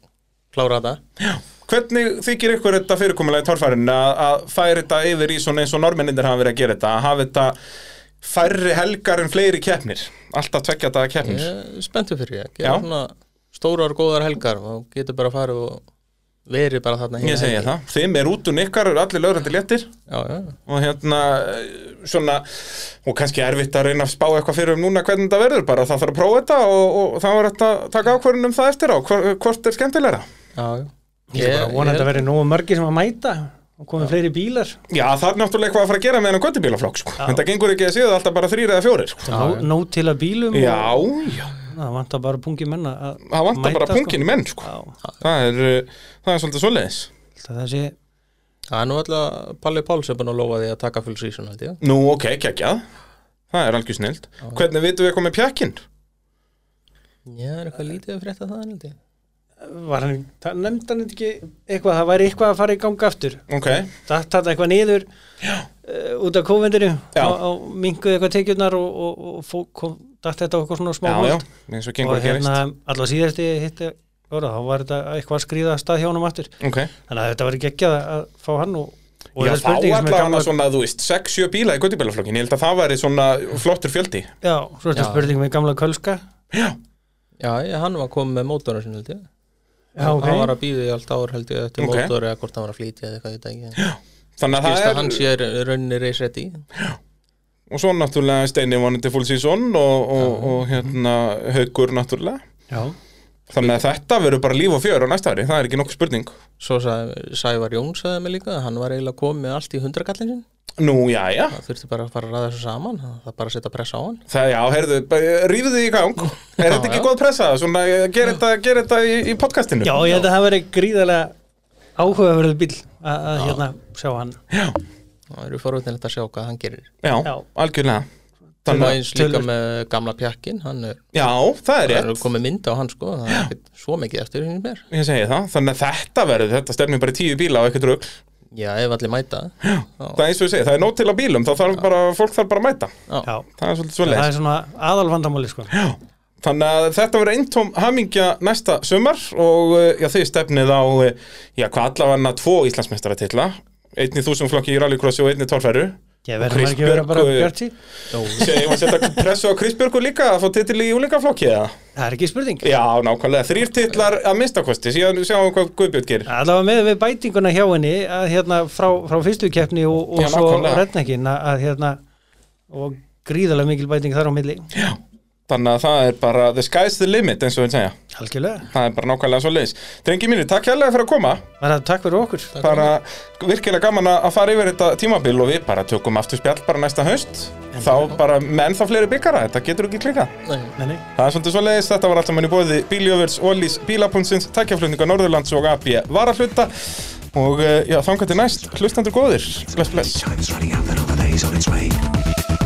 klára þetta hvernig þykir ykkur þetta fyrirkomulega í torfærin að, að færi þetta yfir í svona eins og norminnindir hafa verið að gera þetta að hafa þetta færri helgar en fleiri keppnir alltaf tvekja þetta keppnir Ég er spenntu fyrir ég Já. Gera svona stórar góðar helgar og getur bara að fara og verið bara þarna ég segi það, þeim er út um ykkar eru allir lögrandi léttir Já, já, og hérna eh, svona, og kannski erfitt að reyna að spá eitthvað fyrir um núna hvernig þetta verður bara það þarf að prófa þetta og, og það var þetta taka ákvörðin um það eftir á, Hvor, hvort er skemmtilegra já, já ég er bara vonandi að vera nógu margir sem að mæta og komið fleiri bílar Já, það er náttúrulega eitthvað að fara að gera með hennan göttubílaflokk sko. en það gengur ekki að séu það alltaf bara þrýr eða fjórir sko. nóg, nóg til að bílum og- Já, já, Það vantar bara pungi menna að það vantar mæta, bara punkin í menn sko. Já, það, er, eh, það er svolítið svoleiðis það það sé Það er nú alltaf Palli Páls er búin að lofa því að taka full season held ég Nú, ok, geggjað Það er algjör snild Hvernig vitum við eitthvað með pjakkinn? Já, er eitthvað lítið að frétta það held ég var hann, það nefndi hann ekki eitthvað, það væri eitthvað að fara í ganga aftur Ok, það tatt eitthvað niður uh, út af kóvendinu Já. og, og minguði eitthvað tekjurnar og, og, og fó, kom, datt þetta á eitthvað svona smá já, já, holt. eins og gengur og að gerist hérna allavega síðasti hitti orða, þá var þetta eitthvað að skríða af stað hjá honum aftur Ok, þannig að þetta var geggjað að fá hann og, og Já, það þá er spurning sem er allavega gaman að- svona, þú veist, 6-7 bíla í göttubílaflokkin Ég held að það væri svona flottur fjöldi já, svo er þetta Já. spurning með gamla kölska Já, ég, hann var komið með mótorinu sinni held ég Já, ok. hann var að býða í allt ár held ég eftir Ok. okay. mótor eða hvort hann var að flytja eða eitthvað ég veit það ekki en Þannig að skilst að það hann er, sé í rauninni reis ready og svo náttúrulega Steini vonandi full season og, og, og hérna Haugur náttúrulega Já, Þannig að þetta verður bara líf og fjör á næsta ári, það er ekki nokkuð spurning svo sagði Sævar Jón sagði mig líka að hann var eiginlega komið með allt í hundrakallin sin Nú, já, já, það þurfti bara að fara að ræða þessu saman það er bara að setja pressa á hann það, já, heyrðu, bara eh, rífðu þig í gang Er þetta ekki já. góð pressa? Svona, ger þetta, ger þetta í, í podcastinu? já ég held að það verið gríðarlega áhugaverðu bíl að að, hérna sjá hann Já, það eru forvitnilegt að sjá hvað hann gerir já, Já. algjörlega það Þannig, eins líka tölvöld. með gamla pjakkin hann er, að- já, það er það rétt er komið mynd á hann sko það er ekkert svo mikið eftir hinn mér Ég segi það, þannig að þetta verður, þetta stefnir bara í tíu bíla og ekkert rugg já, ef allir mæta Það er eins og ég segi, það er nót til að bílum, þá þarf bara, fólk þarf bara að mæta Já, Það er svolítið svolítið það er svona aðal vandamáli <laughs> sko Já, þannig að þetta verður eintóm hamingja næsta sumar og eh, já, þið stefnið á, eh, já, hvað allavega tvo Íslandsmeistaratitla, einn í þúsum flokki í rallycrossi og einn í torfæru Ég verður maður ekki að vera Kristbjörg, bara eh, bjart sín já, Segir maður að setja pressu á Krisbjörgu líka að fá titil í úlingaflokki eða? Það er ekki spurning Já, nákvæmlega, þrýr titlar að minnstakosti, síðan sjáum við hvað Guðbjörn gerir Allavega með við bætinguna hjá henni að hérna frá, frá fyrstu keppni og, og Já, svo nákvæmlega. rednekkin að, að hérna og gríðarlega mikil bæting þar á milli Þannig að það er bara the sky's the limit eins og við segja Algjörlega, Það er bara nákvæmlega svo leiðis Drengi mínir, takk hérlega fyrir að koma bara takk fyrir okkur bara virkilega gaman að að fara yfir þetta tímabil og við bara tökum aftur spjall bara næsta haust þá bara með ennþá fleiri byggara, þetta getur ekki klika nei Nei, nei. það er svolítið svo leiðis, þetta var allt saman í bóði Bíljöfurs, Ólís, Bílapunnsins, Tækjaflutninga Norðurlands og AB Varahluta og eh, já, þangar til næst, hlustandur góðir bless bless Time's running out, another day's on its way.